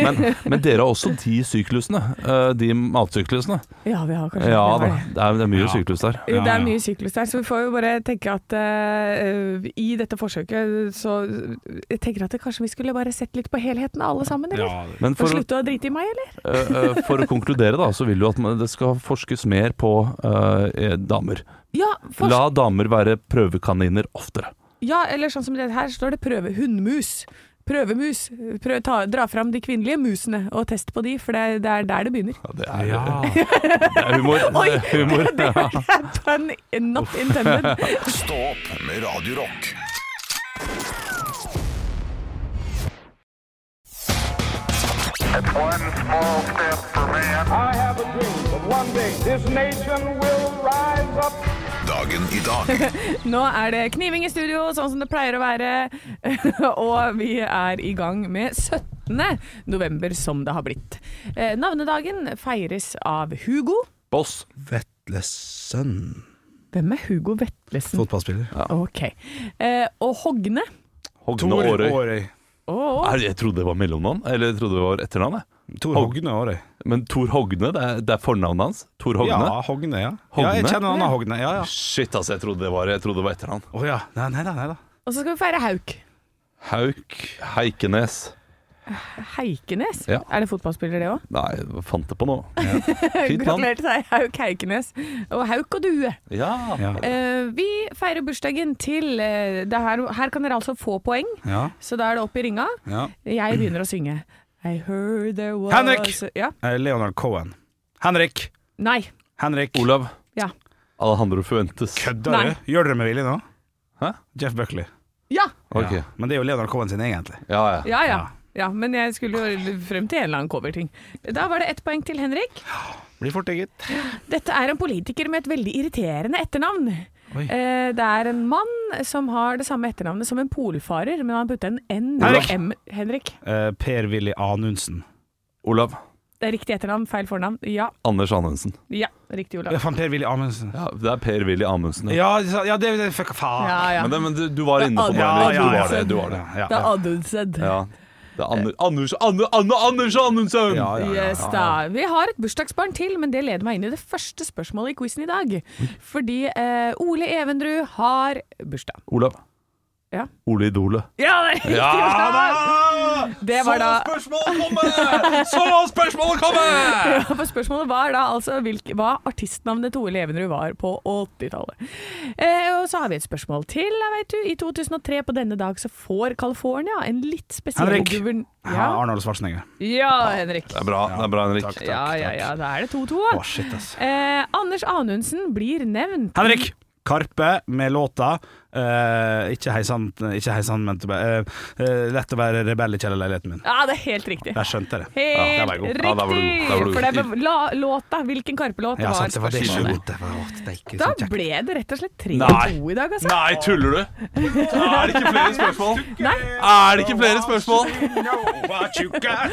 Speaker 3: Men, men dere har også de syklusene. eh, De matsyklusene.
Speaker 5: Ja, vi har kanskje
Speaker 3: Ja
Speaker 5: vi
Speaker 3: da,
Speaker 5: har det.
Speaker 3: det er, det er mye
Speaker 4: Ja.
Speaker 3: syklus der.
Speaker 5: Jo, det
Speaker 4: Ja,
Speaker 5: er
Speaker 4: ja.
Speaker 5: mye syklus der, så vi får jo bare tenke at eh, i dette forsøket så Jeg tenker at det kanskje vi skulle bare sett litt på helheten av alle sammen, eller?
Speaker 4: Ja, det-
Speaker 3: Men
Speaker 5: Og
Speaker 3: for,
Speaker 5: slutte å drite i meg, eller?
Speaker 3: Eh, eh, For å konkludere da, så vil du at man- det skal forskes mer på eh, damer.
Speaker 5: Ja, for,
Speaker 3: La damer være prøvekaniner oftere.
Speaker 5: ja, eller sånn som det her står det prøve hundmus. Prøvemus. Prøv, ta, dra fram de kvinnelige musene og test på de, for det, er- det er der det begynner.
Speaker 3: det
Speaker 4: ja.
Speaker 3: humor.
Speaker 5: Oi!
Speaker 3: humor.
Speaker 5: Det er pun not intended.
Speaker 2: Stå opp med Radio Rock.
Speaker 1: One small step for man.
Speaker 6: I have a dream that one day this nation will rise up.
Speaker 2: Dagen i dag
Speaker 5: Nå er det kniving i studio, sånn som det pleier å være. og vi er i gang med 17. november, som det har blitt. Eh, navnedagen feires av Hugo.
Speaker 3: Boss.
Speaker 4: Vetle Sønn.
Speaker 5: Hvem er Hugo Vetlesen?
Speaker 4: Fotballspiller.
Speaker 5: Ok. Eh, og Hogne.
Speaker 3: Hogne
Speaker 4: Tor
Speaker 3: Aarøy.
Speaker 4: Aarøy.
Speaker 5: Å,
Speaker 3: Nei, Jeg trodde det var mellomnavn, eller jeg trodde det var etternavn. jeg.
Speaker 4: Tor Hogne Aarøy.
Speaker 3: Men Tor Hogne, det er, det er fornavnet hans? Tor Hogne?
Speaker 4: Ja, Hogne, ja.
Speaker 3: Hogne?
Speaker 4: ja jeg kjenner han av Hogne. Ja, ja.
Speaker 3: Shit, altså, jeg trodde det var, jeg trodde det var etternavn.
Speaker 4: Å ja. Nei, nei da, nei da.
Speaker 5: og så skal vi feire Hauk.
Speaker 3: Hauk Heikenes.
Speaker 5: Heikenes.
Speaker 3: Ja.
Speaker 5: Er det fotballspiller, det òg?
Speaker 3: Nei, jeg fant det på nå. Fint navn.
Speaker 5: Gratulerer til deg, Hauk Heikenes. Og Hauk og Due.
Speaker 3: Ja.
Speaker 4: Ja.
Speaker 5: Eh, vi feirer bursdagen til eh, det her, her kan dere altså få poeng,
Speaker 4: Ja,
Speaker 5: så da er det opp i ringa.
Speaker 4: ja.
Speaker 5: Jeg begynner å synge. I heard there was
Speaker 4: Henrik!
Speaker 5: Ja.
Speaker 4: Eh, Leonard Cohen. Henrik.
Speaker 5: Nei.
Speaker 4: Henrik.
Speaker 3: Olav.
Speaker 5: Ja.
Speaker 3: Alejandro Fuentes.
Speaker 4: Kødder
Speaker 5: Nei.
Speaker 4: du? Gjør dere med vilje nå?
Speaker 3: Hæ?
Speaker 4: Jeff Buckley.
Speaker 5: Ja!
Speaker 3: Ok.
Speaker 4: Ja. Men det er jo Leonard Cohen sin, egentlig.
Speaker 3: Ja, ja.
Speaker 5: Ja, ja.
Speaker 4: Ja.
Speaker 5: Ja, men jeg skulle jo frem til en eller annen coverting. Da var det ett poeng til Henrik.
Speaker 4: Blir fort, det, gitt.
Speaker 5: Dette er en politiker med et veldig irriterende etternavn.
Speaker 4: Oi.
Speaker 5: Eh, Det er en mann som har det samme etternavnet som en polfarer, men han putta en N
Speaker 4: Henrik.
Speaker 5: og M. Henrik.
Speaker 4: Eh, Per-Willy Anundsen.
Speaker 3: Olav
Speaker 5: Det er riktig etternavn, feil fornavn. Ja,
Speaker 3: Anders Anundsen.
Speaker 5: ja, riktig, Olav.
Speaker 4: Ja, faen, Per-Willy Anundsen.
Speaker 3: Ja, det er Per-Willy Amundsen. Ja.
Speaker 4: Ja, sa- ja det, det fuck, faen.
Speaker 5: Ja, ja.
Speaker 3: Men, det, men du, du var inne på det.
Speaker 5: Ja,
Speaker 3: Henrik.
Speaker 5: ja,
Speaker 3: Du
Speaker 5: ja.
Speaker 3: var det. Du var det.
Speaker 4: Ja,
Speaker 5: Det er
Speaker 4: ja.
Speaker 5: Anundsed.
Speaker 3: Ja. Det er Ander, Anders, Anne, Anne, Anders Anundsen!
Speaker 4: Ja, ja, ja.
Speaker 5: Yes, da. Vi har et bursdagsbarn til, men det leder meg inn i det første spørsmålet i quizen i dag. Fordi eh, Ole Evendrud har bursdag.
Speaker 3: Olav.
Speaker 5: Ja.
Speaker 3: Ole Idolet.
Speaker 5: Ja, det er riktig! Olav! Det var da
Speaker 3: Ah, spørsmålet komme! Så spørsmålet komme!
Speaker 5: For spørsmålet var da altså hvilk, hva artistnavnet til Ole Evenrud var på 80-tallet. Eh, og så har vi et spørsmål til. da, Vet du. I 2003 på denne dag så får California en litt spesiell
Speaker 4: Henrik.
Speaker 5: guvern...
Speaker 4: Ja,
Speaker 5: Ja.
Speaker 4: Arnold Schwarzenegger.
Speaker 5: ja, Henrik.
Speaker 3: Det er bra, det er bra Henrik.
Speaker 4: Takk, takk,
Speaker 5: Ja, ja,
Speaker 4: takk.
Speaker 5: ja. Da er det 2-2.
Speaker 4: Å, shit, ass.
Speaker 5: Eh, Anders Anundsen blir nevnt.
Speaker 4: Henrik! Karpe med låta eh, Ikke hei sann, ikke hei sann, men til meg. Eh, eh, Lett å være rebell i kjellerleiligheten min.
Speaker 5: Ja, det er helt riktig.
Speaker 4: Jeg skjønte det.
Speaker 3: der
Speaker 5: Helt
Speaker 3: var jeg god. Ja,
Speaker 5: riktig!
Speaker 3: der var du god. Der var du
Speaker 5: For det
Speaker 3: god.
Speaker 5: var la, låta, hvilken Karpe-låt
Speaker 4: Ja,
Speaker 5: var
Speaker 4: sant, det var det ikke
Speaker 5: spørsmålet.
Speaker 4: godt. Det var godt. Det er ikke
Speaker 5: Da
Speaker 4: sånn kjekt.
Speaker 5: ble det rett og slett
Speaker 3: Nei.
Speaker 5: 3-2 i dag, altså.
Speaker 3: Nei, tuller du? Er det ikke flere spørsmål?
Speaker 5: Nei.
Speaker 3: Er det ikke flere spørsmål?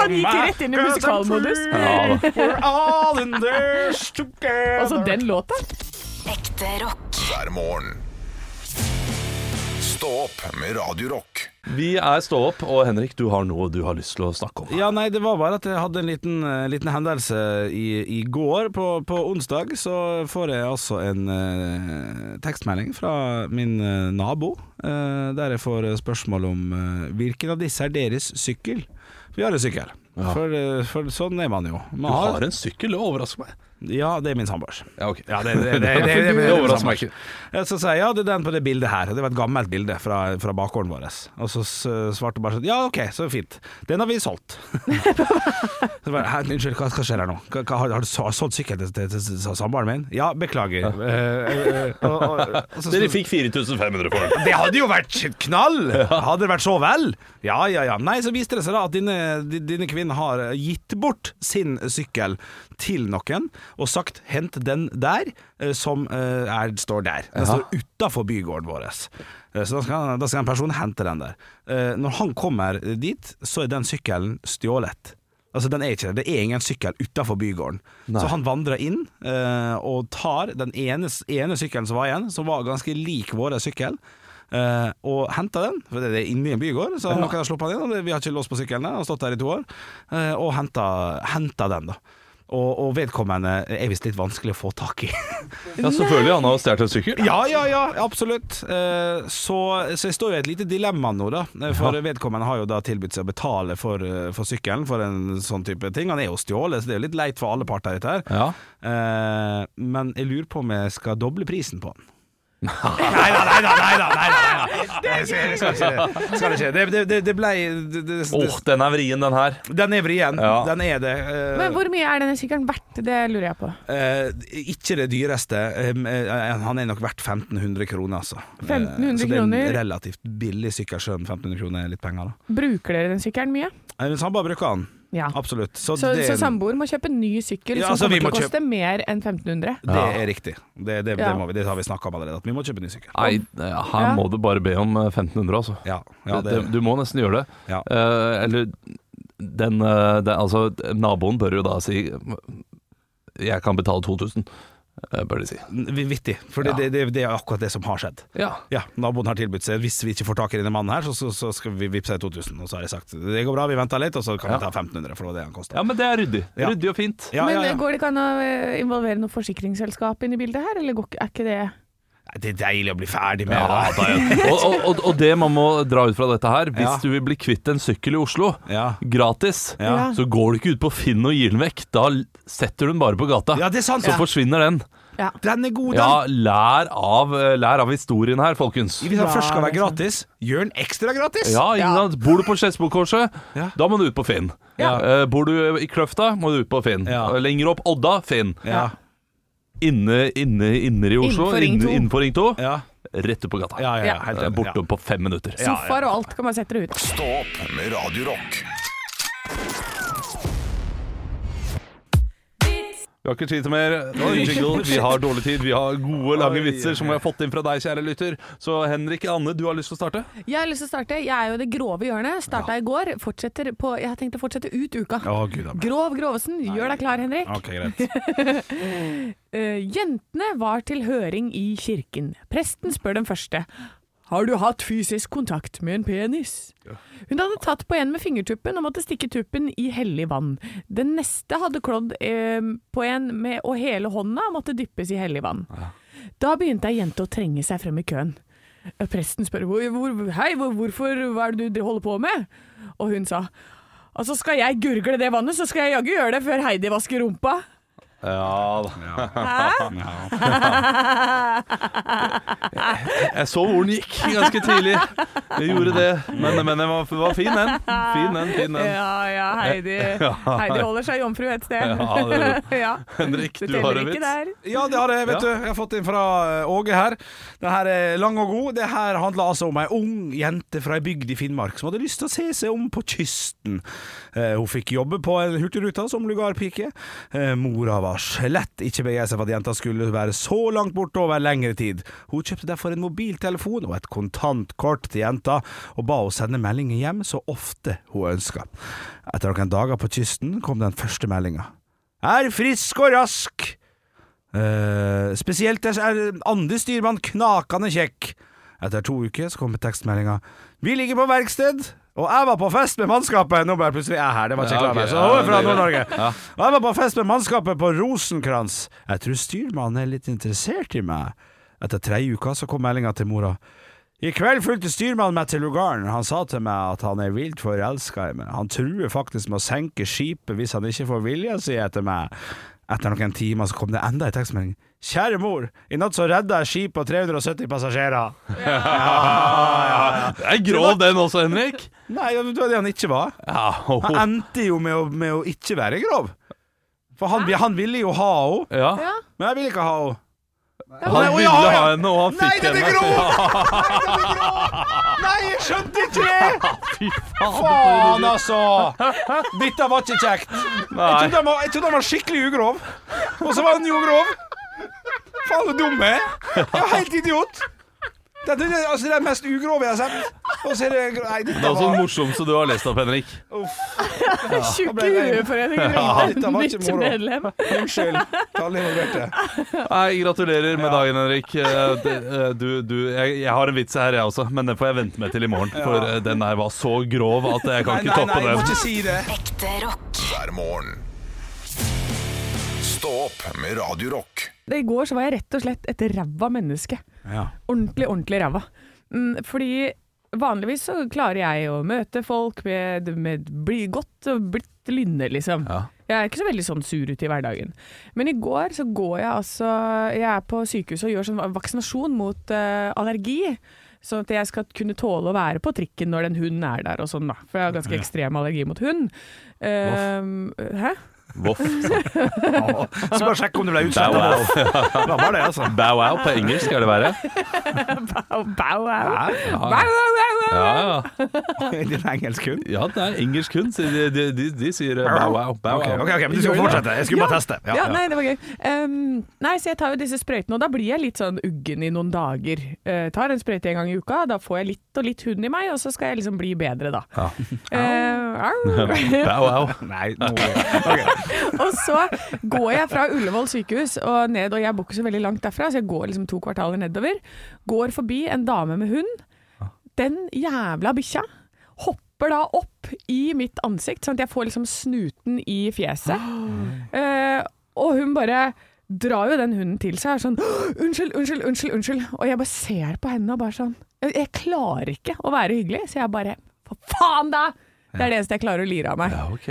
Speaker 5: Han gikk rett inn i musikalmodus.
Speaker 3: Ja, da.
Speaker 5: Altså, den låta.
Speaker 7: Ekte rock.
Speaker 2: hver morgen. Stå opp med Radio Rock.
Speaker 3: Vi er Stå opp, og Henrik, du har noe du har lyst til å snakke om.
Speaker 4: Ja, nei, det var bare at jeg hadde en liten, eh, liten hendelse i, i går. På, på onsdag så får jeg altså en eh, tekstmelding fra min eh, nabo, eh, der jeg får eh, spørsmål om eh, hvilken av disse er deres sykkel. Vi har en sykkel. For, eh, for sånn er man jo. Man
Speaker 3: Du har en sykkel, det overrasker meg.
Speaker 4: Ja, det er min samboers.
Speaker 3: Ja, ok.
Speaker 4: Ja, det, det, det, det, det,
Speaker 3: Det overrasker meg ikke.
Speaker 4: Ja, Så sier jeg ja, det er den på det bildet her. Og Det var et gammelt bilde fra, fra bakgården vår. Og så s- svarte bare sånn Ja, OK, så fint. Den har vi solgt. så bare, «Hæ, Unnskyld, hva, hva skjer her nå? Hva, hva, har- har du så- solgt sykkelen til, til, til, til samboeren min? Ja, beklager. Eh, eh, eh, og- og- og så-
Speaker 3: Dere fikk 4500 for den.
Speaker 4: det hadde jo vært knall! Hadde det vært så vel? Ja, ja, ja. Nei, så viste det seg da at denne, denne kvinnen har gitt bort sin sykkel til noen og sagt 'hent den der', eh, som eh, er, står der. Den står utafor bygården vår. Eh, Så da skal, da skal en person hente den der. Eh, Når han kommer dit, så er den sykkelen stjålet. Altså den er ikke Det Det er ingen sykkel utafor bygården. Så han vandrer inn eh, og tar den ene, ene sykkelen som var igjen, som var ganske lik vår sykkel. eh, og henter den, for det er inne i en bygård, så noen har sluppet den inn. Og det, vi har ikke lås på sykkelen, den har stått der i to år. eh, og henter, henter den, da. Og, og vedkommende er visst litt vanskelig å få tak i.
Speaker 3: Ja, selvfølgelig. Han har stjålet en sykkel.
Speaker 4: ja, ja, ja, absolutt. Eh, så, så jeg står jo i et lite dilemma nå, da. Eh, For vedkommende har jo da tilbudt seg å betale for, eh, for sykkelen for en sånn type ting. Han er jo stjålet, så det er jo litt leit for alle parter, dette her.
Speaker 3: Ja.
Speaker 4: Eh, men jeg lurer på om jeg skal doble prisen på den. nei da, nei da, nei da! Nei, da, nei, da. Jeg skal jeg skal ikke det. Jeg Skal ikke. det. Det, det, det ble det, det,
Speaker 3: Åh, den er vrien, den her.
Speaker 4: Den er vrien.
Speaker 3: Ja.
Speaker 4: Den er det. Eh,
Speaker 5: Men hvor mye er denne sykkelen verdt? Det lurer jeg på.
Speaker 4: Eh, ikke det dyreste. Em, eh, han er nok verdt 1500 kroner, altså.
Speaker 5: 1500
Speaker 4: så det er en
Speaker 5: kroner?
Speaker 4: relativt billig sykkel, selv om 1500 kroner er litt penger, da.
Speaker 5: Bruker dere den sykkelen mye?
Speaker 4: Eh, Men samboer bruker han,
Speaker 5: Ja.
Speaker 4: absolutt. Så,
Speaker 5: Så,
Speaker 4: det,
Speaker 5: så samboer må kjøpe en ny sykkel
Speaker 4: Ja, altså,
Speaker 5: som
Speaker 4: vi
Speaker 5: kommer
Speaker 4: må
Speaker 5: til å koste mer enn 1500.
Speaker 4: det er riktig. Det, det, det,
Speaker 5: Ja.
Speaker 4: må vi, det har vi snakka om allerede, at vi må kjøpe ny sykkel.
Speaker 3: Nei, her
Speaker 5: Ja.
Speaker 3: må du bare be om eh, 1500, altså.
Speaker 4: Ja, ja,
Speaker 3: det,
Speaker 4: det,
Speaker 3: du må nesten gjøre det.
Speaker 4: ja.
Speaker 3: Eh, eller den, eh, det- Altså, naboen bør jo da si Jeg kan betale 2000, eh, bør de si.
Speaker 4: Vittig. For det,
Speaker 3: Ja.
Speaker 4: det, det, det er akkurat det som har skjedd.
Speaker 3: Ja.
Speaker 4: Ja, Naboen har tilbudt seg hvis vi ikke får tak i denne mannen, her så, så, så skal vi vippse 2000. Og så har jeg sagt det går bra, vi venter litt, og så kan
Speaker 3: Ja.
Speaker 4: vi ta 1500, for det var det han kosta.
Speaker 3: ja, men det er ryddig.
Speaker 4: Ja.
Speaker 3: Ryddig og fint.
Speaker 4: Ja,
Speaker 5: Men
Speaker 4: ja, ja.
Speaker 5: eh, går det ikke an å eh, involvere noe forsikringsselskap inn i bildet her, eller går, ikke- er ikke det
Speaker 4: Nei, Det er deilig å bli ferdig med
Speaker 3: Ja,
Speaker 4: det.
Speaker 3: da, ja. og, og- og, og det man må dra ut fra dette her Hvis
Speaker 4: Ja.
Speaker 3: du vil bli kvitt en sykkel i Oslo
Speaker 4: Ja.
Speaker 3: gratis,
Speaker 4: Ja.
Speaker 3: så går du ikke ut på Finn og gir den vekk. Da l- setter du den bare på gata.
Speaker 4: ja, det er sant.
Speaker 3: Så forsvinner den.
Speaker 4: Den er god, den.
Speaker 3: Ja, lær av, eh, lær av historien her, folkens.
Speaker 4: Hvis den først skal være gratis, gjør den ekstra gratis!
Speaker 3: Ja, ikke sant? Bor du på Skedsmokorset,
Speaker 4: Ja.
Speaker 3: da må du ut på Finn. Eh, bor du i Kløfta, må du ut på Finn.
Speaker 4: Ja.
Speaker 3: Eh, Lenger opp Odda, Finn.
Speaker 4: Ja.
Speaker 3: Inne, inne, inne i Oslo,
Speaker 5: Innenfor Ring
Speaker 3: inne-
Speaker 5: to.
Speaker 3: innenfor Ring 2.
Speaker 4: Ja.
Speaker 3: rett ut på gata.
Speaker 4: Ja, ja, ja, helt
Speaker 3: Eh,
Speaker 4: enig,
Speaker 3: Borte
Speaker 4: ja.
Speaker 3: på fem minutter.
Speaker 5: Sofaer og alt kan man sette det ut.
Speaker 2: Stå opp med Radio Rock.
Speaker 3: Vi har ikke tid til mer. Jingle. Vi har dårlig tid. Vi har gode, lange vitser som vi har fått inn fra deg, kjære lytter. Så Henrik Anne, du har lyst til å starte?
Speaker 5: Jeg har lyst til å starte. Jeg er jo i det grove hjørnet. Starta i går. Fortsetter på Jeg har tenkt å fortsette ut uka.
Speaker 4: Å, gud a meg.
Speaker 5: Grov Grovesen, gjør deg klar, Henrik.
Speaker 4: OK, greit.
Speaker 5: Eh, jentene var til høring i kirken. Presten spør den første. Har du hatt fysisk kontakt med en penis? Hun hadde tatt på en med fingertuppen og måtte stikke tuppen i hellig vann. Den neste hadde klådd eh, på en med, og hele hånda måtte dyppes i hellig vann. Da begynte ei jente å trenge seg frem i køen. Eh, Presten spør hvor, hvor, hei, hvor, hvorfor, hva er det du holder på med? Og hun sa altså skal jeg gurgle det vannet, så skal jeg jaggu gjøre det før Heidi vasker rumpa.
Speaker 3: Ja da.
Speaker 5: Hæ?
Speaker 4: Ja.
Speaker 3: Jeg så hvor den gikk ganske tidlig. Jeg gjorde det. Men, men den var, var fin, den. Fin, den. fin den.
Speaker 5: Ja, ja, Heidi, Heidi holder seg jomfru et sted.
Speaker 3: Ja, det gjør hun.
Speaker 5: Ja.
Speaker 3: Henrik,
Speaker 5: Det
Speaker 3: du har
Speaker 5: teller
Speaker 3: en
Speaker 5: ikke
Speaker 3: vits.
Speaker 5: der.
Speaker 4: Ja, det har jeg, vet
Speaker 3: Ja.
Speaker 4: du. Jeg har fått inn fra eh, Åge her. Den her er lang og god. Det her handler altså om ei ung jente fra ei bygd i Finnmark som hadde lyst til å se seg om på kysten. Eh, Hun fikk jobbe på en hurtigruta som lugarpike. Eh, Mora var slett ikke begeistret for at jenta skulle være så langt borte over lengre tid. Hun kjøpte derfor en mobiltelefon og et kontantkort til jenta, og ba henne sende meldinger hjem så ofte hun ønska. Etter noen dager på kysten kom den første meldinga. Er frisk og rask! Eh, spesielt er- er andre styrmann knakende kjekk. Etter to uker så kommer tekstmeldinga. Vi ligger på verksted, og jeg var på fest med mannskapet. Nå ble jeg plutselig jeg her, det var ikke
Speaker 3: Ja,
Speaker 4: klar over.
Speaker 3: ok,
Speaker 4: Så
Speaker 3: ja,
Speaker 4: hun er fra
Speaker 3: det er
Speaker 4: Nord-Norge.
Speaker 3: greit. Ja.
Speaker 4: Og jeg var på fest med mannskapet på Rosenkrans. Jeg tror styrmannen er litt interessert i meg. Etter tre uker så kom meldinga til mora. I kveld fulgte styrmannen meg til lugaren. Han sa til meg at han er vilt forelska i meg. Han truer faktisk med å senke skipet hvis han ikke får viljen sin etter meg. Etter noen timer så kom det enda en tekstmelding. Kjære mor, i natt så redda jeg skipet og 370 passasjerer.
Speaker 3: Det er grov den også, Henrik.
Speaker 4: Nei, det var det han ikke var.
Speaker 3: Ja, ho, ho.
Speaker 4: Han endte jo med å, med å ikke være grov. For han, han ville jo ha henne,
Speaker 3: ja.
Speaker 5: Ja.
Speaker 4: men jeg ville ikke ha henne.
Speaker 3: Han ville ha henne, og han
Speaker 4: Nei,
Speaker 3: fikk
Speaker 4: den er
Speaker 3: henne.
Speaker 4: Nei, jeg skjønte ikke det!
Speaker 3: Fy faen!
Speaker 4: Faen, altså! Dette var ikke kjekt. Jeg
Speaker 3: Nei.
Speaker 4: trodde han var, jeg trodde han var skikkelig ugrov, og så var han jo grov. Faen, så dum jeg er. Jeg er helt idiot. Det er det, altså, det er det mest ugrove jeg har sett. Og så er det gro- Nei,
Speaker 3: Det er altså
Speaker 4: dette
Speaker 3: også det
Speaker 4: var
Speaker 3: morsomste du har lest opp, Henrik.
Speaker 5: Tjukke
Speaker 4: ble det-
Speaker 5: hueforeningen
Speaker 4: Ja,
Speaker 5: ringte
Speaker 4: dette var ikke
Speaker 5: nytt
Speaker 4: moro.
Speaker 5: medlem.
Speaker 4: Unnskyld til alle involverte.
Speaker 3: Nei, gratulerer med dagen, Henrik. Eh, det- eh, Du, du, jeg, jeg har en vits her, jeg også, men den får jeg vente med til i morgen. For eh, den der var så grov at jeg kan
Speaker 4: Nei,
Speaker 3: ikke
Speaker 4: nei, nei,
Speaker 3: toppe
Speaker 4: jeg
Speaker 3: den.
Speaker 4: må ikke si det.
Speaker 7: Ekte rock.
Speaker 2: hver morgen. Stå opp med Radio Rock.
Speaker 5: I går så var jeg rett og slett et ræva menneske.
Speaker 4: Ja.
Speaker 5: Ordentlig, ordentlig ræva. Mm, Fordi vanligvis så klarer jeg å møte folk med, med bli godt og blitt lynne, liksom.
Speaker 3: Ja.
Speaker 5: Jeg er ikke så veldig sånn sur ute i hverdagen. Men i går så går jeg altså Jeg er på sykehuset og gjør sånn vaksinasjon mot eh, allergi. Sånn at jeg skal kunne tåle å være på trikken når en hund er der og sånn, da. For jeg har ganske ekstrem allergi mot hund. Ehm, hæ?
Speaker 3: Voff.
Speaker 4: Så bare sjekk om du ble
Speaker 3: Bow
Speaker 4: utsatt.
Speaker 3: wow.
Speaker 4: Det var bare det, altså.
Speaker 3: Bow wow på engelsk, skal det være.
Speaker 5: Bow, bow, wow.
Speaker 4: Hæ?
Speaker 5: Bow, wow, wow, wow.
Speaker 3: Ja, ja.
Speaker 4: Din engelsk hund?
Speaker 3: ja det er engelsk hund. så De, de, de, de sier eh, bow wow. Bow
Speaker 4: Ok,
Speaker 3: wow.
Speaker 4: ok, ok, men du skal fortsette. Jeg skulle bare teste.
Speaker 5: Ja, nei, det var gøy. Ehm, nei, så jeg tar jo disse sprøytene, og da blir jeg litt sånn uggen i noen dager. Eh, tar en sprøyte en gang i uka, da får jeg litt og litt hund i meg, og så skal jeg liksom bli bedre, da. Eh, au.
Speaker 3: Bow wow.
Speaker 4: Nei, nå Ok.
Speaker 5: og så går jeg fra Ullevål sykehus og ned, og jeg bor ikke så veldig langt derfra, så jeg går liksom to kvartaler nedover. Går forbi en dame med hund. Den jævla bikkja hopper da opp i mitt ansikt, sånn at jeg får liksom snuten i fjeset. Eh, og hun bare drar jo den hunden til seg og er sånn Unnskyld, unnskyld, unnskyld. unnskyld Og jeg bare ser på henne og bare sånn Jeg, jeg klarer ikke å være hyggelig, så jeg bare For faen, da! Det er det eneste jeg klarer å lire av meg.
Speaker 3: Ja, ok.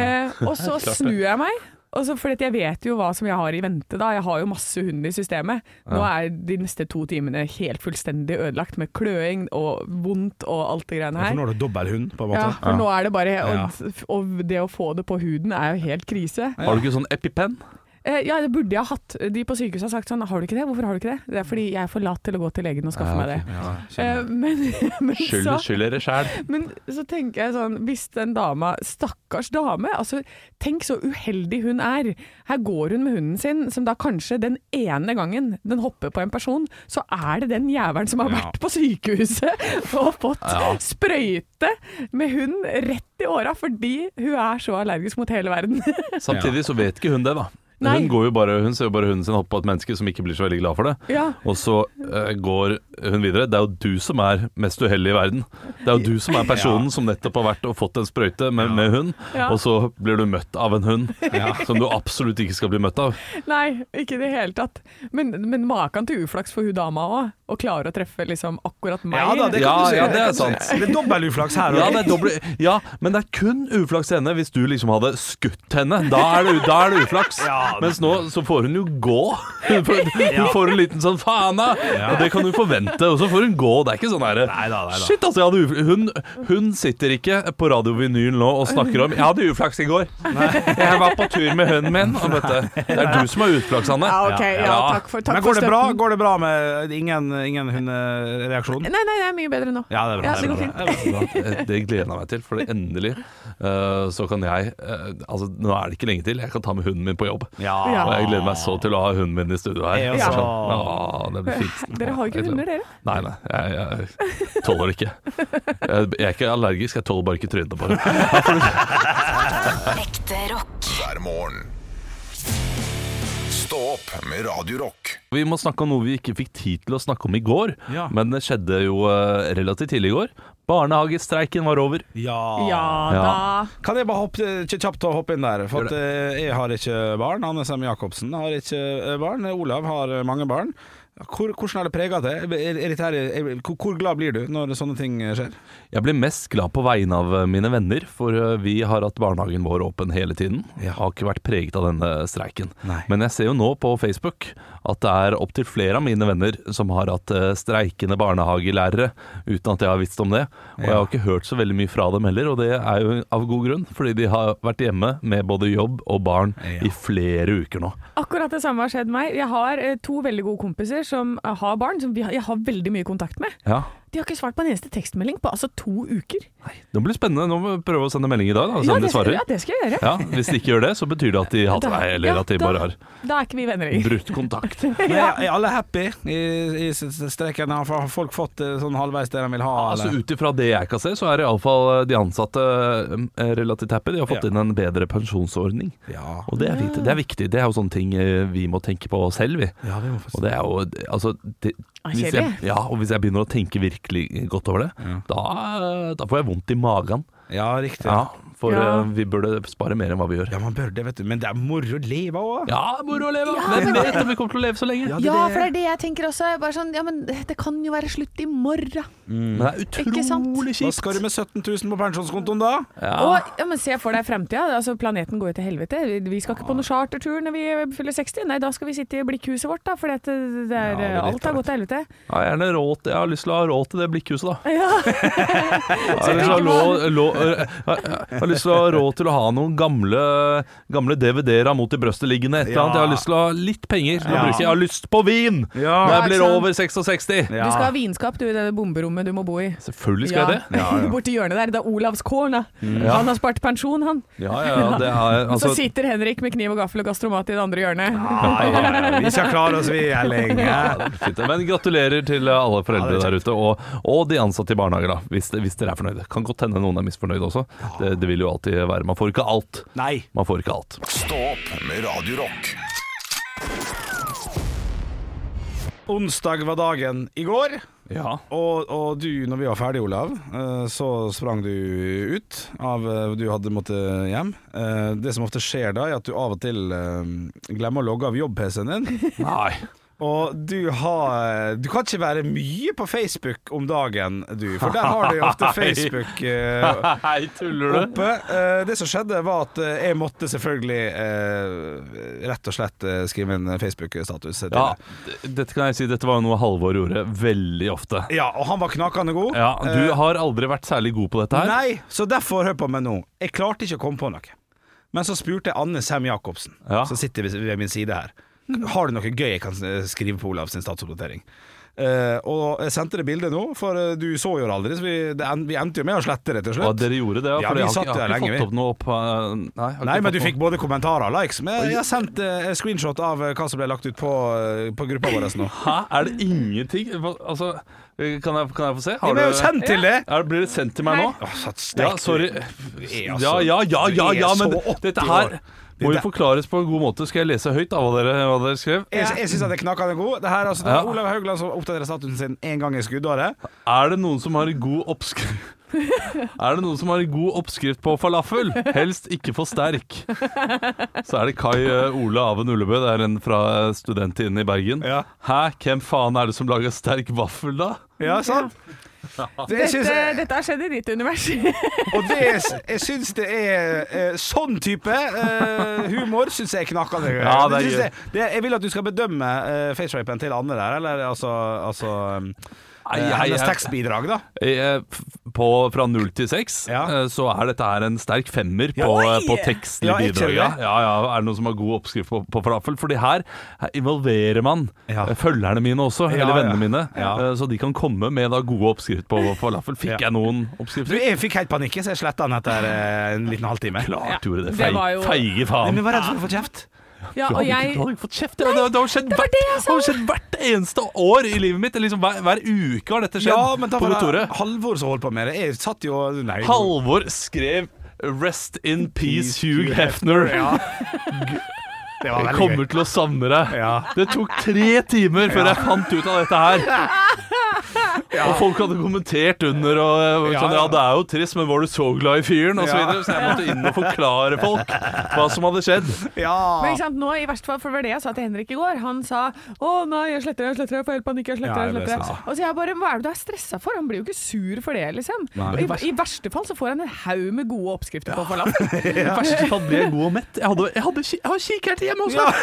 Speaker 5: Eh, og så snur jeg meg, og så, for jeg vet jo hva som jeg har i vente. da Jeg har jo masse hund i systemet. Nå er de neste to timene helt fullstendig ødelagt med kløing og vondt og alt det greiene
Speaker 4: For
Speaker 5: her.
Speaker 4: nå har du dobbel hund, på en
Speaker 5: Ja,
Speaker 4: måte.
Speaker 5: for nå er det bare
Speaker 4: Ja.
Speaker 5: og, og det å få det på huden er jo helt krise.
Speaker 3: Har du ikke sånn EpiPen?
Speaker 5: Eh, ja, det burde jeg ha hatt. De på sykehuset har sagt sånn Har du ikke det? Hvorfor har du ikke det? Det er fordi jeg er for lat til å gå til legen og skaffe
Speaker 3: Ja,
Speaker 5: meg det.
Speaker 4: Ja,
Speaker 5: Eh,
Speaker 4: skjønner.
Speaker 5: men, men,
Speaker 3: Skyld,
Speaker 5: så,
Speaker 3: skyld dere sjæl.
Speaker 5: men så tenker jeg sånn Hvis den dama Stakkars dame. Altså, tenk så uheldig hun er. Her går hun med hunden sin, som da kanskje den ene gangen den hopper på en person, så er det den jævelen som har
Speaker 4: Ja.
Speaker 5: vært på sykehuset og fått sprøyte med hund rett i åra fordi hun er så allergisk mot hele verden.
Speaker 3: Samtidig så vet ikke hun det, da.
Speaker 5: Nei.
Speaker 3: Hun, går jo bare, hun ser jo bare hunden sin hoppe på et menneske som ikke blir så veldig glad for det.
Speaker 5: Ja.
Speaker 3: Og så eh, går hun videre. Det er jo du som er mest uheldig i verden. Det er jo du som er personen som nettopp har vært og fått en sprøyte med, med hund,
Speaker 5: Ja.
Speaker 3: og så blir du møtt av en hund som du absolutt ikke skal bli møtt av.
Speaker 5: Nei, ikke i det hele tatt. Men, men maken til uflaks for hun dama òg. Å klare å treffe liksom akkurat meg.
Speaker 4: Ja da, det kan
Speaker 3: Ja,
Speaker 4: du si.
Speaker 3: ja, det er
Speaker 4: kan du si.
Speaker 3: sant.
Speaker 4: Det er dobbel uflaks her.
Speaker 3: Ja,
Speaker 4: og-
Speaker 3: det er doble, ja, men det er kun uflaks til henne hvis du liksom hadde skutt henne. Da er det, da er det uflaks.
Speaker 4: Ja.
Speaker 3: Mens nå så får hun jo gå. Hun får, hun får en liten sånn fana, og det kan du forvente. Og så får hun gå. Det er ikke sånn herre
Speaker 4: Neida, neida.
Speaker 3: Shit, altså, jeg hadde uflaks. Hun, hun sitter ikke på radiovinyl nå og snakker om Jeg hadde uflaks i går. Jeg var på tur med hunden min. Og vet du, det er du som har uflaks, Anne.
Speaker 5: Ja, ok. Ja,
Speaker 3: Ja.
Speaker 5: takk for, takk
Speaker 4: Men går
Speaker 5: for
Speaker 4: det, bra?
Speaker 5: støtten.
Speaker 4: går det bra med eh, ingen, ingen hundereaksjon?
Speaker 5: Nei, nei, det er mye bedre nå.
Speaker 4: Ja, det er bra.
Speaker 5: Ja, det
Speaker 4: det
Speaker 5: går
Speaker 4: er bra. Det er bra.
Speaker 3: Eh, Det gleder jeg meg til, for det endelig eh, så kan jeg eh, Altså, nå er det ikke lenge til. Jeg kan ta med hunden min på jobb.
Speaker 5: Ja.
Speaker 3: Og jeg gleder meg så til å ha hunden min i studio her.
Speaker 4: Jeg
Speaker 3: Så
Speaker 4: også.
Speaker 3: sånn, ja, det blir fint.
Speaker 5: Dere har jo ikke hunder, dere.
Speaker 3: Nei, nei. Jeg, jeg tåler det ikke. Jeg, jeg er ikke allergisk, jeg tåler bare ikke trynet på det.
Speaker 7: Ekte rock.
Speaker 2: hver morgen. Stå opp med Radio Rock.
Speaker 3: Vi må snakke om noe vi ikke fikk tid til å snakke om i går,
Speaker 4: Ja.
Speaker 3: men det skjedde jo eh, relativt tidlig i går. Barnehagestreiken var over.
Speaker 4: Ja.
Speaker 5: Ja
Speaker 3: Ja.
Speaker 5: da.
Speaker 4: Kan jeg bare hoppe, eh, kj- kjapt å hoppe inn der? For
Speaker 3: Gjør
Speaker 4: at, eh, jeg har ikke barn. Anne Sem Jacobsen har ikke eh, barn. Olav har eh, mange barn. Hvor, hvordan er det prega det? Er, er dette her, er, hvor, hvor glad blir du når sånne ting eh, skjer?
Speaker 3: Jeg ble mest glad på vegne av eh, mine venner, for eh, vi har hatt barnehagen vår åpen hele tiden.
Speaker 4: Ja.
Speaker 3: Har ikke vært preget av denne streiken.
Speaker 4: Nei.
Speaker 3: Men jeg ser jo nå på Facebook at det er opptil flere av mine venner som har hatt eh, streikende barnehagelærere, uten at jeg har visst om det. Og jeg har ikke hørt så veldig mye fra dem heller, og det er jo av god grunn, fordi de har vært hjemme med både jobb og barn
Speaker 4: Ja.
Speaker 3: i flere uker nå.
Speaker 5: Akkurat det samme har skjedd meg. Jeg har eh, to veldig gode kompiser som eh, har barn, som vi har, jeg har veldig mye kontakt med.
Speaker 3: Ja.
Speaker 5: De har ikke svart på en eneste tekstmelding på altså to uker.
Speaker 3: Det blir spennende. Nå må vi prøve å sende melding i dag, da, og se om
Speaker 5: det,
Speaker 3: de
Speaker 5: skal,
Speaker 3: svarer.
Speaker 5: ja, det skal jeg gjøre.
Speaker 3: Ja, Hvis de ikke gjør det, så betyr det at de hater deg,
Speaker 5: Ja,
Speaker 3: eller at de
Speaker 5: da-
Speaker 3: bare har
Speaker 5: Da er ikke vi venner lenger.
Speaker 3: brutt kontakt.
Speaker 4: Men er, er alle happy i, i s- s- streiken? Har har folk fått eh, sånn halvveis det de vil ha?
Speaker 3: Altså
Speaker 4: eller?
Speaker 3: Ut ifra det jeg kan se, så er iallfall de ansatte eh, relativt happy. De har fått
Speaker 4: Ja.
Speaker 3: inn en bedre pensjonsordning.
Speaker 4: ja.
Speaker 3: Og det er, viktig. det er viktig. Det er jo sånne ting eh, vi må tenke på selv, vi.
Speaker 4: ja, vi må få
Speaker 3: Og det er jo Altså det,
Speaker 5: Ah,
Speaker 3: hvis jeg,
Speaker 5: kjedelig.
Speaker 3: ja, og hvis jeg begynner å tenke virkelig godt over det, da, da får jeg vondt i magen.
Speaker 4: Ja, riktig.
Speaker 3: Ja,
Speaker 4: Ja.
Speaker 3: for
Speaker 5: Ja.
Speaker 3: eh, vi burde spare mer enn hva vi gjør.
Speaker 4: man bør det, vet du. Men det er moro å leve òg.
Speaker 3: Ja, moro å leve! Hvem vet om vi kommer til å leve så lenge?
Speaker 4: det-
Speaker 7: Ja, for det er det jeg tenker også. Bare sånn, ja, men det kan jo være slutt i morgen.
Speaker 3: Men det er
Speaker 7: Ikke sant?
Speaker 3: utrolig
Speaker 4: Hva skal du
Speaker 3: kjipt.
Speaker 4: med 17 000 på pensjonskontoen da?
Speaker 3: Ja.
Speaker 5: Og ja, men Se for deg fremtida. Altså, planeten går jo til helvete. Vi- Vi skal ikke på noen chartertur når vi fyller 60. Nei, da skal vi sitte i blikkhuset vårt, da. For det det er,
Speaker 4: det er
Speaker 5: alt har
Speaker 4: litt
Speaker 5: gått til helvete.
Speaker 3: Ja, gjerne råd til, jeg har lyst til å ha råd til det blikkhuset, da. Jeg har lyst til å
Speaker 5: tenker
Speaker 3: ha lå- lå- jeg har lyst til å ha råd til å ha noen gamle, gamle DVD-er av Mot i brøstet liggende. Et eller
Speaker 4: Ja.
Speaker 3: annet. Jeg har lyst til å ha litt penger til å
Speaker 4: Ja.
Speaker 3: bruke. Jeg har lyst på vin
Speaker 4: Ja.
Speaker 3: når jeg
Speaker 5: Ja,
Speaker 3: blir
Speaker 5: ikke sant?
Speaker 3: over 66.
Speaker 5: Du skal ha vinskap du, i det bomberommet du må bo i.
Speaker 3: Selvfølgelig skal jeg det.
Speaker 5: Borti hjørnet der. Det er Olavs kårn, da.
Speaker 4: Mm.
Speaker 5: Han har spart pensjon, han.
Speaker 3: Ja, ja, ja, det er,
Speaker 5: Og
Speaker 3: altså,
Speaker 5: så sitter Henrik med kniv og gaffel og gastromat i det andre hjørnet.
Speaker 4: Nei, ja, ja, vi skal klare oss, vi, Elling.
Speaker 3: ja, det blir fint. Men gratulerer til alle foreldre der ute, og, og de ansatte i barnehager, da, hvis, hvis dere er fornøyde. Kan godt hende noen er misfornøyde også. Det, det vil jo alltid være. Man får ikke alt.
Speaker 4: Nei.
Speaker 3: Man får ikke alt.
Speaker 2: Stå opp med Radio Rock
Speaker 4: Onsdag var dagen i går,
Speaker 3: Ja.
Speaker 4: og, og du, når vi var ferdig, Olav, eh, så sprang du ut av eh, Du hadde måttet hjem. Eh, Det som ofte skjer da, er at du av og til eh, glemmer å logge av jobb-PC-en din.
Speaker 3: Nei.
Speaker 4: Og du har Du kan ikke være mye på Facebook om dagen, du, for der har du jo ofte Facebook eh,
Speaker 3: Nei, tuller du?
Speaker 4: oppe. Eh, det som skjedde, var at eh, jeg måtte selvfølgelig eh, rett og slett eh, skrive en Facebook-status. til
Speaker 3: Ja,
Speaker 4: det.
Speaker 3: d- dette kan jeg si, dette var jo noe Halvor gjorde veldig ofte.
Speaker 4: ja, og han var knakende god.
Speaker 3: Ja,
Speaker 4: Eh,
Speaker 3: Du har aldri vært særlig god på dette her.
Speaker 4: Nei, så derfor hør på meg nå. Jeg klarte ikke å komme på noe. Men så spurte jeg Anne Sem Jacobsen,
Speaker 3: Ja.
Speaker 4: som sitter ved- ved min side her. Har du noe gøy jeg kan eh, skrive på Olavs statsoppdatering? Eh, og jeg sendte det bildet nå, for eh, du så jo det aldri, så vi, det en, vi endte jo med å slette det til
Speaker 3: Ja,
Speaker 4: slutt.
Speaker 3: dere gjorde det, ja.
Speaker 4: Ja,
Speaker 3: For
Speaker 4: vi
Speaker 3: jeg har,
Speaker 4: satt
Speaker 3: ikke- jeg har
Speaker 4: der
Speaker 3: ikke fått
Speaker 4: lenge, vi.
Speaker 3: opp noe på eh, Nei, jeg har
Speaker 4: Nei,
Speaker 3: ikke
Speaker 4: men du
Speaker 3: fått
Speaker 4: fikk både kommentarer og likes. Men jeg, jeg har sendt eh, screenshot av eh, hva som ble lagt ut på, eh, på gruppa vår nå.
Speaker 3: noe- Hæ, er det ingenting? Hva- Altså, kan jeg, kan jeg få se?
Speaker 4: Vi ble jo sendt til det!
Speaker 3: er, Blir det sendt til meg nå?
Speaker 4: Åh, så stekt.
Speaker 3: Ja, sorry.
Speaker 4: Du er altså-
Speaker 3: Ja, ja, ja,
Speaker 4: du
Speaker 3: ja,
Speaker 4: er
Speaker 3: ja
Speaker 4: så
Speaker 3: men
Speaker 4: 80
Speaker 3: dette her
Speaker 4: år.
Speaker 3: må
Speaker 4: Det-
Speaker 3: jo forklares på en god måte. Skal jeg lese høyt av hva dere, hva dere skrev?
Speaker 4: Jeg, jeg syns at det er knakende god. Det her, altså, det er
Speaker 3: Ja.
Speaker 4: Olav Haugland som oppdaterer statusen sin én gang i skuddåret.
Speaker 3: Er det noen som har god oppskrift Er det noen som har god oppskrift på falafel? Helst ikke for sterk. Så er det Kai eh, Ole Aven Ullebø, det er en fra eh, studenten i Bergen.
Speaker 4: Ja.
Speaker 3: Hæ, hvem faen er det som lager sterk vaffel, da?
Speaker 4: Ja, sant? Det syns
Speaker 5: Dette,
Speaker 4: jeg-
Speaker 5: dette har skjedd i ditt univers.
Speaker 4: og det, jeg syns det er eh, Sånn type eh, humor syns jeg er knakende.
Speaker 3: Ja, det er
Speaker 4: synes
Speaker 3: gøy.
Speaker 4: jeg, det, jeg vil at du skal bedømme eh, facerapen til Anne der, eller altså, altså um,
Speaker 3: Nei,
Speaker 4: eh,
Speaker 3: jeg-
Speaker 4: hennes tekstbidrag, da.
Speaker 3: Eh, f- På, fra null til seks
Speaker 4: Ja.
Speaker 3: eh, så er dette her en sterk femmer på,
Speaker 5: Oi!
Speaker 3: på tekstlig
Speaker 4: Ja, er ikke
Speaker 3: bidrag.
Speaker 4: det?
Speaker 3: Ja, ja, ja, er det noen som har god oppskrift på, på falafel? Fordi her her involverer man
Speaker 4: Ja.
Speaker 3: eh, følgerne mine også, eller
Speaker 4: ja.
Speaker 3: vennene mine,
Speaker 4: Ja.
Speaker 3: eh, så de kan komme med da gode oppskrift på falafel. Fikk
Speaker 4: Ja.
Speaker 3: jeg noen
Speaker 4: Du,
Speaker 3: oppskrifter?
Speaker 4: jeg fikk helt panikk, så jeg sletta den etter eh, en liten halvtime.
Speaker 3: Klart gjorde det.
Speaker 5: det
Speaker 3: Feig,
Speaker 5: var jo-
Speaker 3: Feige
Speaker 4: Men
Speaker 3: faen.
Speaker 4: jeg var redd for å få kjeft.
Speaker 5: Ja,
Speaker 3: Du
Speaker 5: og
Speaker 3: hadde ikke,
Speaker 5: jeg
Speaker 3: du hadde ikke fått kjeft. Det, det, det har skjedd
Speaker 5: var
Speaker 3: hvert,
Speaker 5: det jeg
Speaker 3: det
Speaker 5: sa.
Speaker 3: har skjedd hvert eneste år i livet mitt. Liksom, hver, hver uke har dette skjedd
Speaker 4: Ja, men da
Speaker 3: på
Speaker 4: var det
Speaker 3: kontoret.
Speaker 4: Halvor som holdt på med det. Jeg satt jo Nei.
Speaker 3: Halvor skrev 'Rest in peace,
Speaker 4: Peace,
Speaker 3: Hugh
Speaker 4: Hugh
Speaker 3: Hefner'.
Speaker 4: Ja. Det var
Speaker 3: Jeg
Speaker 4: veldig
Speaker 3: kommer
Speaker 4: gøy.
Speaker 3: til å savne deg.
Speaker 4: Ja.
Speaker 3: Det tok tre timer før jeg fant ut av dette her. Og folk hadde kommentert under og, og
Speaker 4: Ja,
Speaker 3: sånn,
Speaker 4: ja.
Speaker 3: ja, det er jo trist, men var du så glad i fyren? Og så,
Speaker 4: Ja.
Speaker 3: videre, så jeg måtte inn og forklare folk hva som hadde skjedd.
Speaker 5: Men
Speaker 4: Ja.
Speaker 5: ikke sant, nå i verste fall, for det var det jeg sa til Henrik i går. Han sa 'Å nei, jeg sletter det, jeg sletter det, jeg får helt panikk, jeg
Speaker 4: Ja,
Speaker 5: sletter
Speaker 4: jeg
Speaker 5: det, jeg
Speaker 4: ble
Speaker 5: sletter det'.
Speaker 4: stresset.
Speaker 5: Og så jeg bare 'Hva er det du er stressa for?' Han blir jo ikke sur for det, liksom.
Speaker 4: Nei.
Speaker 5: I, I verste fall så får han en haug med gode oppskrifter på falafel.
Speaker 3: I verste fall ble jeg god og mett. Jeg, hadde, jeg, hadde, ki- jeg har kikkert hjemme også.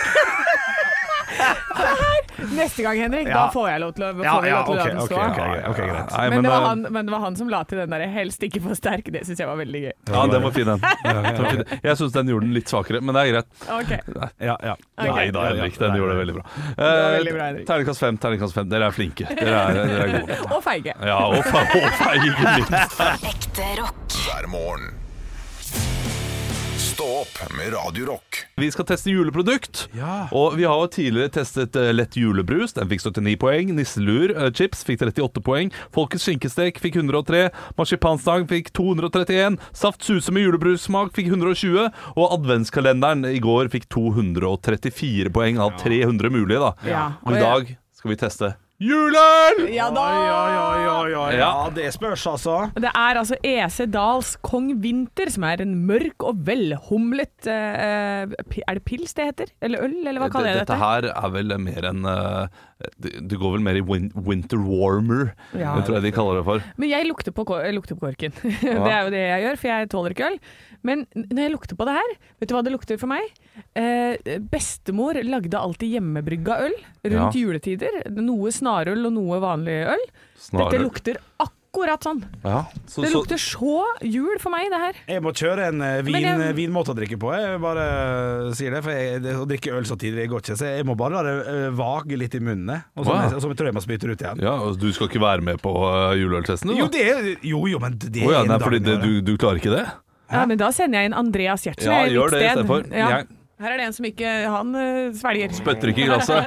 Speaker 5: Neste gang, Henrik, da
Speaker 4: Ja.
Speaker 5: får jeg lov til å får
Speaker 4: Ja,
Speaker 5: vi
Speaker 4: ja,
Speaker 5: lov til å la
Speaker 4: ok,
Speaker 5: den
Speaker 4: ok,
Speaker 5: stå.
Speaker 4: ok, greit, ok, greit.
Speaker 3: Nei,
Speaker 5: Men, det var
Speaker 3: eh,
Speaker 5: han, men det var han som la til den der 'helst ikke for sterk'. Det syns jeg var veldig gøy.
Speaker 3: Ja, den var fin, den. Den var fin. Jeg syns den gjorde den litt svakere, men det er greit.
Speaker 5: Ok,
Speaker 4: Ja, ja.
Speaker 5: Ok.
Speaker 3: Nei da, Henrik. Den gjorde det veldig bra.
Speaker 5: var veldig bra,
Speaker 3: Eh,
Speaker 5: Henrik.
Speaker 3: Terningkast fem, terningkast fem. Dere er flinke. Dere er, dere er gode.
Speaker 5: Og feige.
Speaker 3: Ja, og fe- og feige, ikke minst.
Speaker 8: Ekte rock.
Speaker 2: hver morgen. Stå opp med Radio Rock.
Speaker 3: Vi skal teste juleprodukt.
Speaker 4: Ja.
Speaker 3: Og vi har jo tidligere testet eh, lett julebrus. Den fikk 79 poeng. Nisselur eh, chips fikk 38 poeng. Folkets skinkestek fikk 103. Marsipanstang fikk 231. Saft suse med julebrussmak fikk 120. Og adventskalenderen i går fikk 234 poeng av 300 mulige, da.
Speaker 5: Ja.
Speaker 3: Og i dag skal vi teste juleøl!
Speaker 5: Ja da!
Speaker 4: Oi, oi, oi, oi, oi. Ja,
Speaker 3: Ja.
Speaker 4: det spørs, altså.
Speaker 5: Og Det er altså EC Dahls Kong Vinter, som er en mørk og velhumlet eh, pi- Er det pils det heter? Eller øl, eller hva kaller jeg
Speaker 3: Eh, Dette
Speaker 5: dette?
Speaker 3: her er vel mer en eh, Det det går vel mer i win winter warmer,
Speaker 5: Ja.
Speaker 3: det tror jeg de kaller det for.
Speaker 5: Men jeg lukter på, ko- jeg lukter på korken. det er jo det jeg gjør, for jeg tåler ikke øl. Men n- når jeg lukter på det her, vet du hva det lukter for meg? Eh, bestemor lagde alltid hjemmebrygga øl
Speaker 3: Ja.
Speaker 5: rundt juletider. Noe snarøl og noe vanlig øl. Dette
Speaker 3: Snarere.
Speaker 5: lukter akkurat sånn.
Speaker 3: Ja. Så,
Speaker 5: Det
Speaker 3: så-
Speaker 5: lukter så jul for meg, det her.
Speaker 4: Jeg må kjøre en eh, vin,
Speaker 5: Men jeg-
Speaker 4: vinmåte å drikke på. Jeg bare eh, sier det, for jeg, det, å drikke øl så tidlig det går ikke. Så jeg må bare la det eh, vage litt i munnene, og så,
Speaker 3: Wow.
Speaker 4: og så tror jeg jeg må spyte det ut igjen.
Speaker 3: Ja, og Du skal ikke være med på øh, juleøltesten? du,
Speaker 4: Jo,
Speaker 3: da?
Speaker 4: det er, jo, jo, men det
Speaker 3: Å
Speaker 4: er
Speaker 3: ja,
Speaker 4: en
Speaker 3: nei,
Speaker 4: dag
Speaker 3: fordi det,
Speaker 4: med
Speaker 3: du,
Speaker 4: det.
Speaker 3: du klarer ikke det?
Speaker 5: Ja, men da sender jeg inn Andreas Gjertsen.
Speaker 3: Ja,
Speaker 5: jeg,
Speaker 3: gjør
Speaker 5: mitt
Speaker 3: det i
Speaker 5: sted.
Speaker 3: stedet for.
Speaker 5: Ja.
Speaker 3: Jeg-
Speaker 5: Her er det en som ikke Han eh, svelger.
Speaker 3: Bøtter ikke i glasset.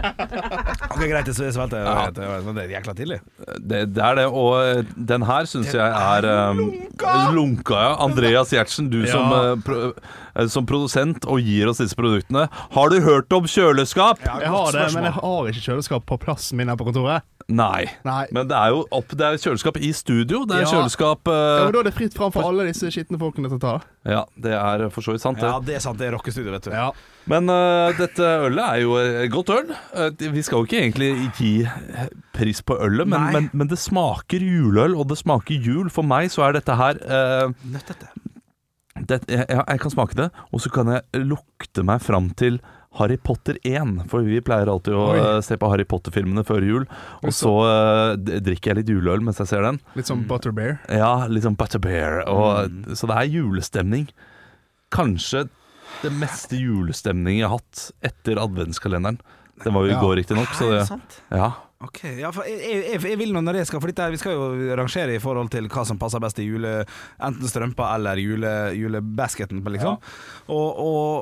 Speaker 4: Ok, Greit, jeg svelget. jeg vet det, Men det er jækla tidlig.
Speaker 3: Det, det er det. Og øh, den her syns jeg er um, Lunka, ja. Andreas Gjertsen, du som,
Speaker 4: Ja.
Speaker 3: øh, pro, øh, som produsent og gir oss disse produktene. Har du hørt om kjøleskap?
Speaker 4: Ja,
Speaker 9: Jeg
Speaker 4: godt
Speaker 9: har det,
Speaker 4: spørsmål.
Speaker 9: men jeg har ikke kjøleskap på plassen min her på kontoret.
Speaker 3: Nei.
Speaker 9: Nei.
Speaker 3: Men det er jo opp, det er kjøleskap i studio. Det er
Speaker 9: Ja.
Speaker 3: kjøleskap
Speaker 9: Ja,
Speaker 3: øh,
Speaker 9: men da er det fritt fram for alle disse skitne folkene til å ta.
Speaker 3: Ja, det er for så vidt sant, det.
Speaker 4: Ja, det er sant. Det er rockestudio, vet du.
Speaker 9: Ja.
Speaker 3: Men øh, dette ølet er jo et godt øl. Øh, vi skal jo ikke egentlig gi pris på ølet, men,
Speaker 4: Nei.
Speaker 3: men, men det smaker juleøl, og det smaker jul. For meg så er dette her øh,
Speaker 4: Nøttete.
Speaker 3: det, jeg, jeg jeg kan smake det, og så kan jeg lukte meg fram til Harry Potter 1, for vi pleier alltid å
Speaker 9: Oi.
Speaker 3: øh, se på Harry Potter-filmene før jul. Og så øh, d- drikker jeg litt juleøl mens jeg ser den.
Speaker 9: Litt som Butterbeer. Mm.
Speaker 3: Ja, litt sånn Butterbeer. Og, Så det er julestemning. Kanskje det meste julestemning jeg har hatt etter adventskalenderen. Den var jo i
Speaker 9: Ja.
Speaker 3: går, riktignok. så
Speaker 4: Er det
Speaker 3: det-
Speaker 4: sant?
Speaker 3: Ja.
Speaker 4: Ok, ja, for jeg, jeg, jeg vil nå når jeg skal For dette, her- vi skal jo rangere i forhold til hva som passer best i jule Enten strømpa eller jule, julebasketen liksom. Og,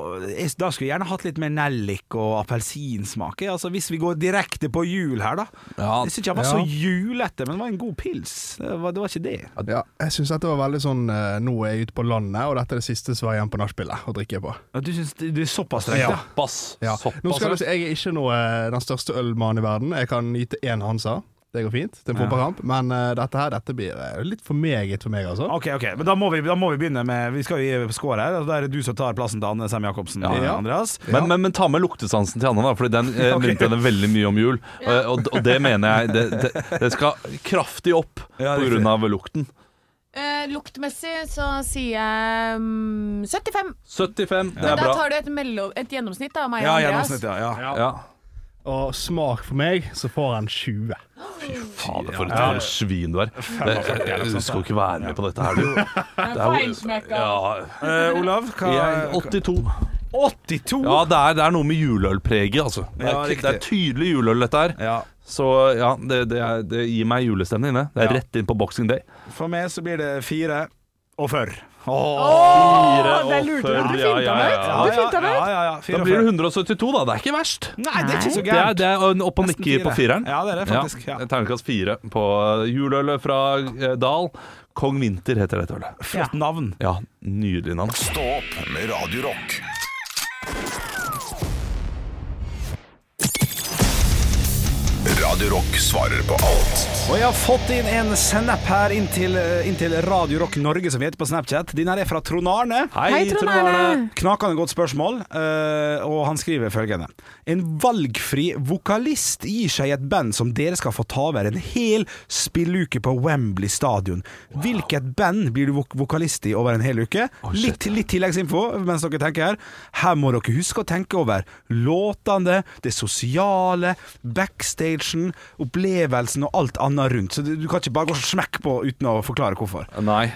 Speaker 4: og jeg, da skulle jeg gjerne hatt litt mer nellik og appelsinsmak jeg. altså, Hvis vi går direkte på jul her da
Speaker 3: Ja,
Speaker 4: Jeg synes ikke han var
Speaker 9: ja.
Speaker 4: så julete Men det var en god pils Det var, det var ikke det
Speaker 9: Ja, jeg syns dette var veldig sånn eh, Nå er jeg ute på landet, og dette er det siste som er igjen på nachspielet å drikke på.
Speaker 4: Ja, Du synes det det er såpass strengt ja.
Speaker 3: Såpass.
Speaker 9: Ja. Nå skal
Speaker 3: Såpass.
Speaker 9: du si, Jeg er ikke noe, eh, den største ølmannen i verden. Jeg kan nyte én Hansa. Det går fint til en fotballkamp, men eh, dette her dette blir eh, litt for meget for meg, altså.
Speaker 4: Ok, ok, men da må, vi, da må vi begynne med Vi skal jo gi skår her altså, Da er det du som tar plassen til Anne Sem Jakobsen
Speaker 9: Ja.
Speaker 4: Andreas
Speaker 3: Men, men, men ta med luktesansen til Anne, da, Fordi den eh, minnet henne veldig mye om jul. Og, og, og det mener jeg. Det, det, det skal kraftig opp
Speaker 4: Ja,
Speaker 3: på
Speaker 4: riktig.
Speaker 3: grunn av lukten.
Speaker 7: Eh, luktmessig så sier jeg mm, 75.
Speaker 3: 75, det
Speaker 7: Men
Speaker 3: er
Speaker 7: da
Speaker 3: bra.
Speaker 7: tar du et, mellom, et gjennomsnitt da, av meg og
Speaker 4: Ja,
Speaker 7: Andreas.
Speaker 4: gjennomsnitt, ja, ja.
Speaker 3: Ja.
Speaker 9: Og smak for meg, så får han 20.
Speaker 3: Fader, for et for et svin du er. Det, jeg, jeg skal ikke være med på dette her, du. Det er jo- ja,
Speaker 4: Eh, Olav, hva
Speaker 3: jeg- 82.
Speaker 4: 82?
Speaker 3: Ja, det er, det er noe med juleølpreget, altså. Det er,
Speaker 4: Ja,
Speaker 3: ikke-
Speaker 4: riktig.
Speaker 3: det er tydelig juleøl, dette her.
Speaker 4: Ja.
Speaker 3: Så ja, det, det, er, det gir meg julestemning, det. Det er
Speaker 4: Ja.
Speaker 3: rett inn på boxing day.
Speaker 4: For meg så blir det fire og før.
Speaker 3: Fire
Speaker 5: det
Speaker 3: og
Speaker 5: lurte
Speaker 3: før,
Speaker 5: du. Du
Speaker 3: ja,
Speaker 5: finta
Speaker 3: ja,
Speaker 5: meg ut.
Speaker 3: ja, ja.
Speaker 5: Du finta meg
Speaker 4: ja,
Speaker 5: ut.
Speaker 4: ja, ja, fire
Speaker 3: Da
Speaker 4: og
Speaker 3: blir
Speaker 4: før.
Speaker 3: det 172, da. Det er ikke verst.
Speaker 4: Nei, det er ikke så
Speaker 3: Det er,
Speaker 4: gærent.
Speaker 3: det er en opp og
Speaker 4: Nesten
Speaker 3: nikker på
Speaker 4: fire.
Speaker 3: fireren.
Speaker 4: Ja, det er det faktisk, ja.
Speaker 3: Terningkast fire på eh, juleølet fra eh, Dal. Kong Vinter heter dette ølet.
Speaker 4: Flott navn.
Speaker 3: Ja, nydelig navn.
Speaker 2: Stå opp med Radio Rock. Radio Rock svarer på alt.
Speaker 4: Og jeg har fått inn en snap her inn til, eh, inn til Radio Rock Norge, som vi heter på Snapchat. Den her er fra Trond Arne.
Speaker 5: Hei, Trond Arne.
Speaker 4: Knakende godt spørsmål, eh, og han skriver følgende. En valgfri vokalist gir seg i et band som dere skal få ta over en hel spilluke på Wembley stadion. Hvilket band blir du vok vokalist i over en hel uke? litt, litt tilleggsinfo mens dere tenker her. Her må dere huske å tenke over låtene, det sosiale, backstagen, opplevelsen og alt annet rundt. Så du, du kan ikke bare gå og smekk på uten å forklare hvorfor.
Speaker 3: Nei.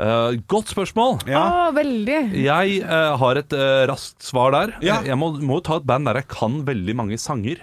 Speaker 3: Eh, godt spørsmål.
Speaker 4: Ja.
Speaker 5: Å, veldig.
Speaker 3: Jeg eh, har et eh, raskt svar der.
Speaker 4: Ja.
Speaker 3: Jeg må, må jo ta et band der jeg kan veldig mange sanger.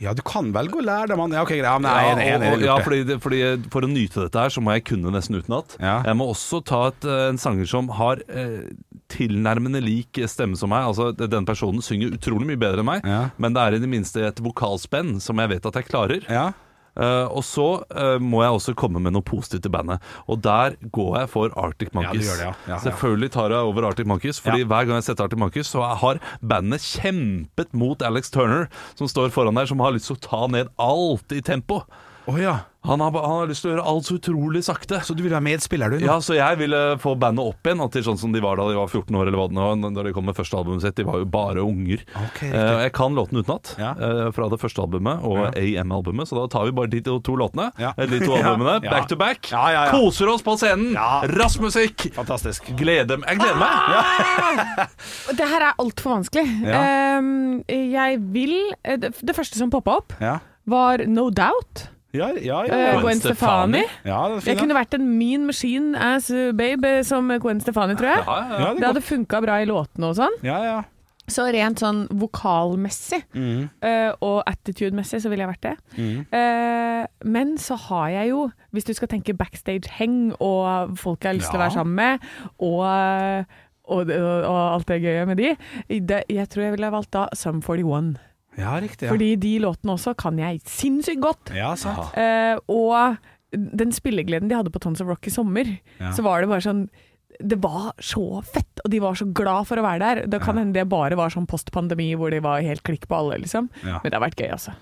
Speaker 4: Ja, du kan velge å lære deg, mann. Ja, ok, greit. Ja, men jeg er enig, jeg er enig,
Speaker 3: og- og-
Speaker 4: jeg
Speaker 3: ja,
Speaker 4: har gjort det.
Speaker 3: fordi, det- fordi For å nyte dette her, så må jeg kunne nesten utenat.
Speaker 4: Ja.
Speaker 3: Jeg må også ta et, eh, en sanger som har eh, tilnærmende lik stemme som meg. Altså, det- Den personen synger utrolig mye bedre enn meg,
Speaker 4: Ja.
Speaker 3: men det er i det minste et vokalspenn som jeg vet at jeg klarer.
Speaker 4: Ja.
Speaker 3: Eh, og så eh, må jeg også komme med noe positivt til bandet. Og der går jeg for Arctic Monkeys.
Speaker 4: gjør det, ja. Ja, ja.
Speaker 3: Selvfølgelig tar jeg over Arctic Monkeys, Fordi
Speaker 4: Ja.
Speaker 3: hver gang jeg setter Arctic Monkeys, så har bandet kjempet mot Alex Turner, som står foran der, som har lyst til å ta ned alt i tempo.
Speaker 4: Å ja.
Speaker 3: Han har, ba- han har lyst til å gjøre alt så utrolig sakte.
Speaker 4: Så du vil være medspiller, du? nå?
Speaker 3: Ja, så jeg ville få bandet opp igjen og til sånn som de var da de var 14 år, eller hva det nå var, da de kom med første albumet sitt. De var jo bare unger.
Speaker 4: Ok, riktig.
Speaker 3: Eh, jeg kan låten utenat,
Speaker 4: Ja.
Speaker 3: eh, fra det første albumet og AM-albumet, så da tar vi bare de to, to låtene,
Speaker 4: Ja.
Speaker 3: eh, de to
Speaker 4: Ja.
Speaker 3: albumene,
Speaker 4: Ja.
Speaker 3: back to back.
Speaker 4: Ja, ja, ja.
Speaker 3: Koser oss på scenen.
Speaker 4: Ja.
Speaker 3: Rask musikk.
Speaker 4: Fantastisk.
Speaker 3: Gleder meg. Jeg gleder meg.
Speaker 5: Det her er altfor vanskelig. Ehm, jeg vil eh, Det det første som poppa opp,
Speaker 4: Ja.
Speaker 5: var No Doubt.
Speaker 4: Ja, ja, ja.
Speaker 5: eh,
Speaker 3: Gwen
Speaker 5: Gwen Stefani.
Speaker 3: Stefani.
Speaker 4: ja det er
Speaker 5: Jeg
Speaker 4: fint.
Speaker 5: kunne vært en mean machine as a babe eh, som Gwen Stefani, tror jeg.
Speaker 3: Ja, ja, ja.
Speaker 4: ja, det
Speaker 5: Det
Speaker 4: er godt.
Speaker 5: hadde funka bra i låtene og sånn.
Speaker 4: Ja, ja.
Speaker 5: Så rent sånn vokalmessig
Speaker 4: Mm.
Speaker 5: eh, og attitude-messig så ville jeg vært det. Eh, men så har jeg jo, hvis du skal tenke backstage-heng og folk jeg har lyst til å være sammen med, og, og, og, og alt det gøye med de, det, jeg tror jeg ville ha valgt da Sum 41.
Speaker 4: ja riktig. Ja.
Speaker 5: Fordi de låtene også kan jeg sinnssykt godt.
Speaker 4: ja, sant.
Speaker 5: Eh, og den spillegleden de hadde på Tons of Rock i sommer, så var det bare sånn det var så fett, og de var så glad for å være der. Det kan hende det bare var sånn postpandemi hvor de var helt klikk på alle, liksom.
Speaker 4: Ja.
Speaker 5: Men det har vært gøy, altså.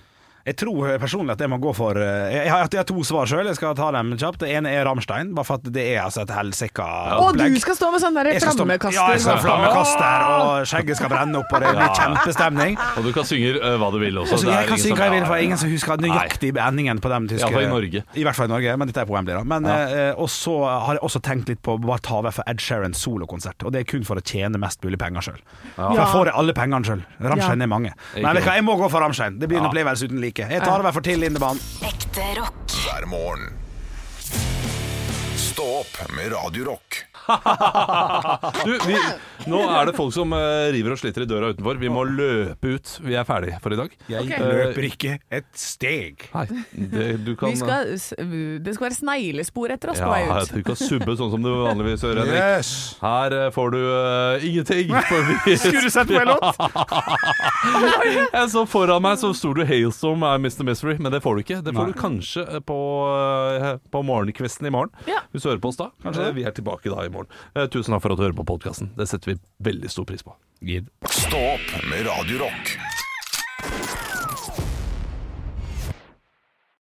Speaker 4: Jeg tror eh, personlig at jeg må gå for eh, Jeg har, jeg har to svar sjøl, jeg skal ta dem kjapt. Det ene er Ramstein, bare for at det er altså et helsika
Speaker 5: Og du
Speaker 4: opplegg.
Speaker 5: skal stå med sånn der
Speaker 4: Jeg skal stå-
Speaker 5: flammekaster!
Speaker 4: Ja, jeg skal ha
Speaker 5: sånn.
Speaker 4: flammekaster, og skjegget skal brenne opp, og det blir kjempestemning.
Speaker 3: Og du kan synge eh, hva du vil også.
Speaker 4: Altså,
Speaker 3: Det er
Speaker 4: jeg kan
Speaker 3: ingen
Speaker 4: synge
Speaker 3: som-
Speaker 4: hva jeg vil, for det er ingen som
Speaker 3: Ja,
Speaker 4: husker nøyaktig endingen på de
Speaker 3: I
Speaker 4: tyske
Speaker 3: hvert fall i Norge.
Speaker 4: I hvert fall i Norge, men dette er på Wembley, da. Men, eh, og så har jeg også tenkt litt på bare ta over for Ed Sheerans solokonsert, og det er kun for å tjene mest mulig penger sjøl. For jeg får jeg alle pengene sjøl. Ramstein
Speaker 5: Ja.
Speaker 4: er mange.
Speaker 3: Ikke
Speaker 4: Men vet du hva, jeg må gå for Ramstein. Det blir en opplevelse uten like. Jeg tar over for Till Lindemann.
Speaker 8: Ekte rock.
Speaker 2: hver morgen. Stå opp med Radio Rock.
Speaker 3: Du, vi, nå er det folk som eh, river og sliter i døra utenfor. Vi må løpe ut. Vi er ferdig for i dag. Eh,
Speaker 4: Jeg
Speaker 5: Ok.
Speaker 4: løper ikke et steg.
Speaker 3: Nei, det, du kan
Speaker 5: Vi skal, s- det skal være sneglespor etter oss
Speaker 3: ja,
Speaker 5: på vei ut.
Speaker 3: Du kan subbe sånn som du vanligvis gjør, Henrik.
Speaker 4: Yes.
Speaker 3: Her eh, får du eh, ingenting. For vi,
Speaker 4: Skulle du sett på en låt?
Speaker 3: jeg så foran meg så sto du 'Hailstorm er Mr. Mystery', men det får du ikke. Det får
Speaker 4: Nei.
Speaker 3: du kanskje eh, på, eh, på morgenkvisten i morgen.
Speaker 5: Ja.
Speaker 3: Hvis du hører på oss da. Eh, Vi er tilbake da i morgen. Eh, Tusen takk for at du hører på podkasten. Det setter vi veldig stor pris på.
Speaker 2: Stå opp med Radio Rock.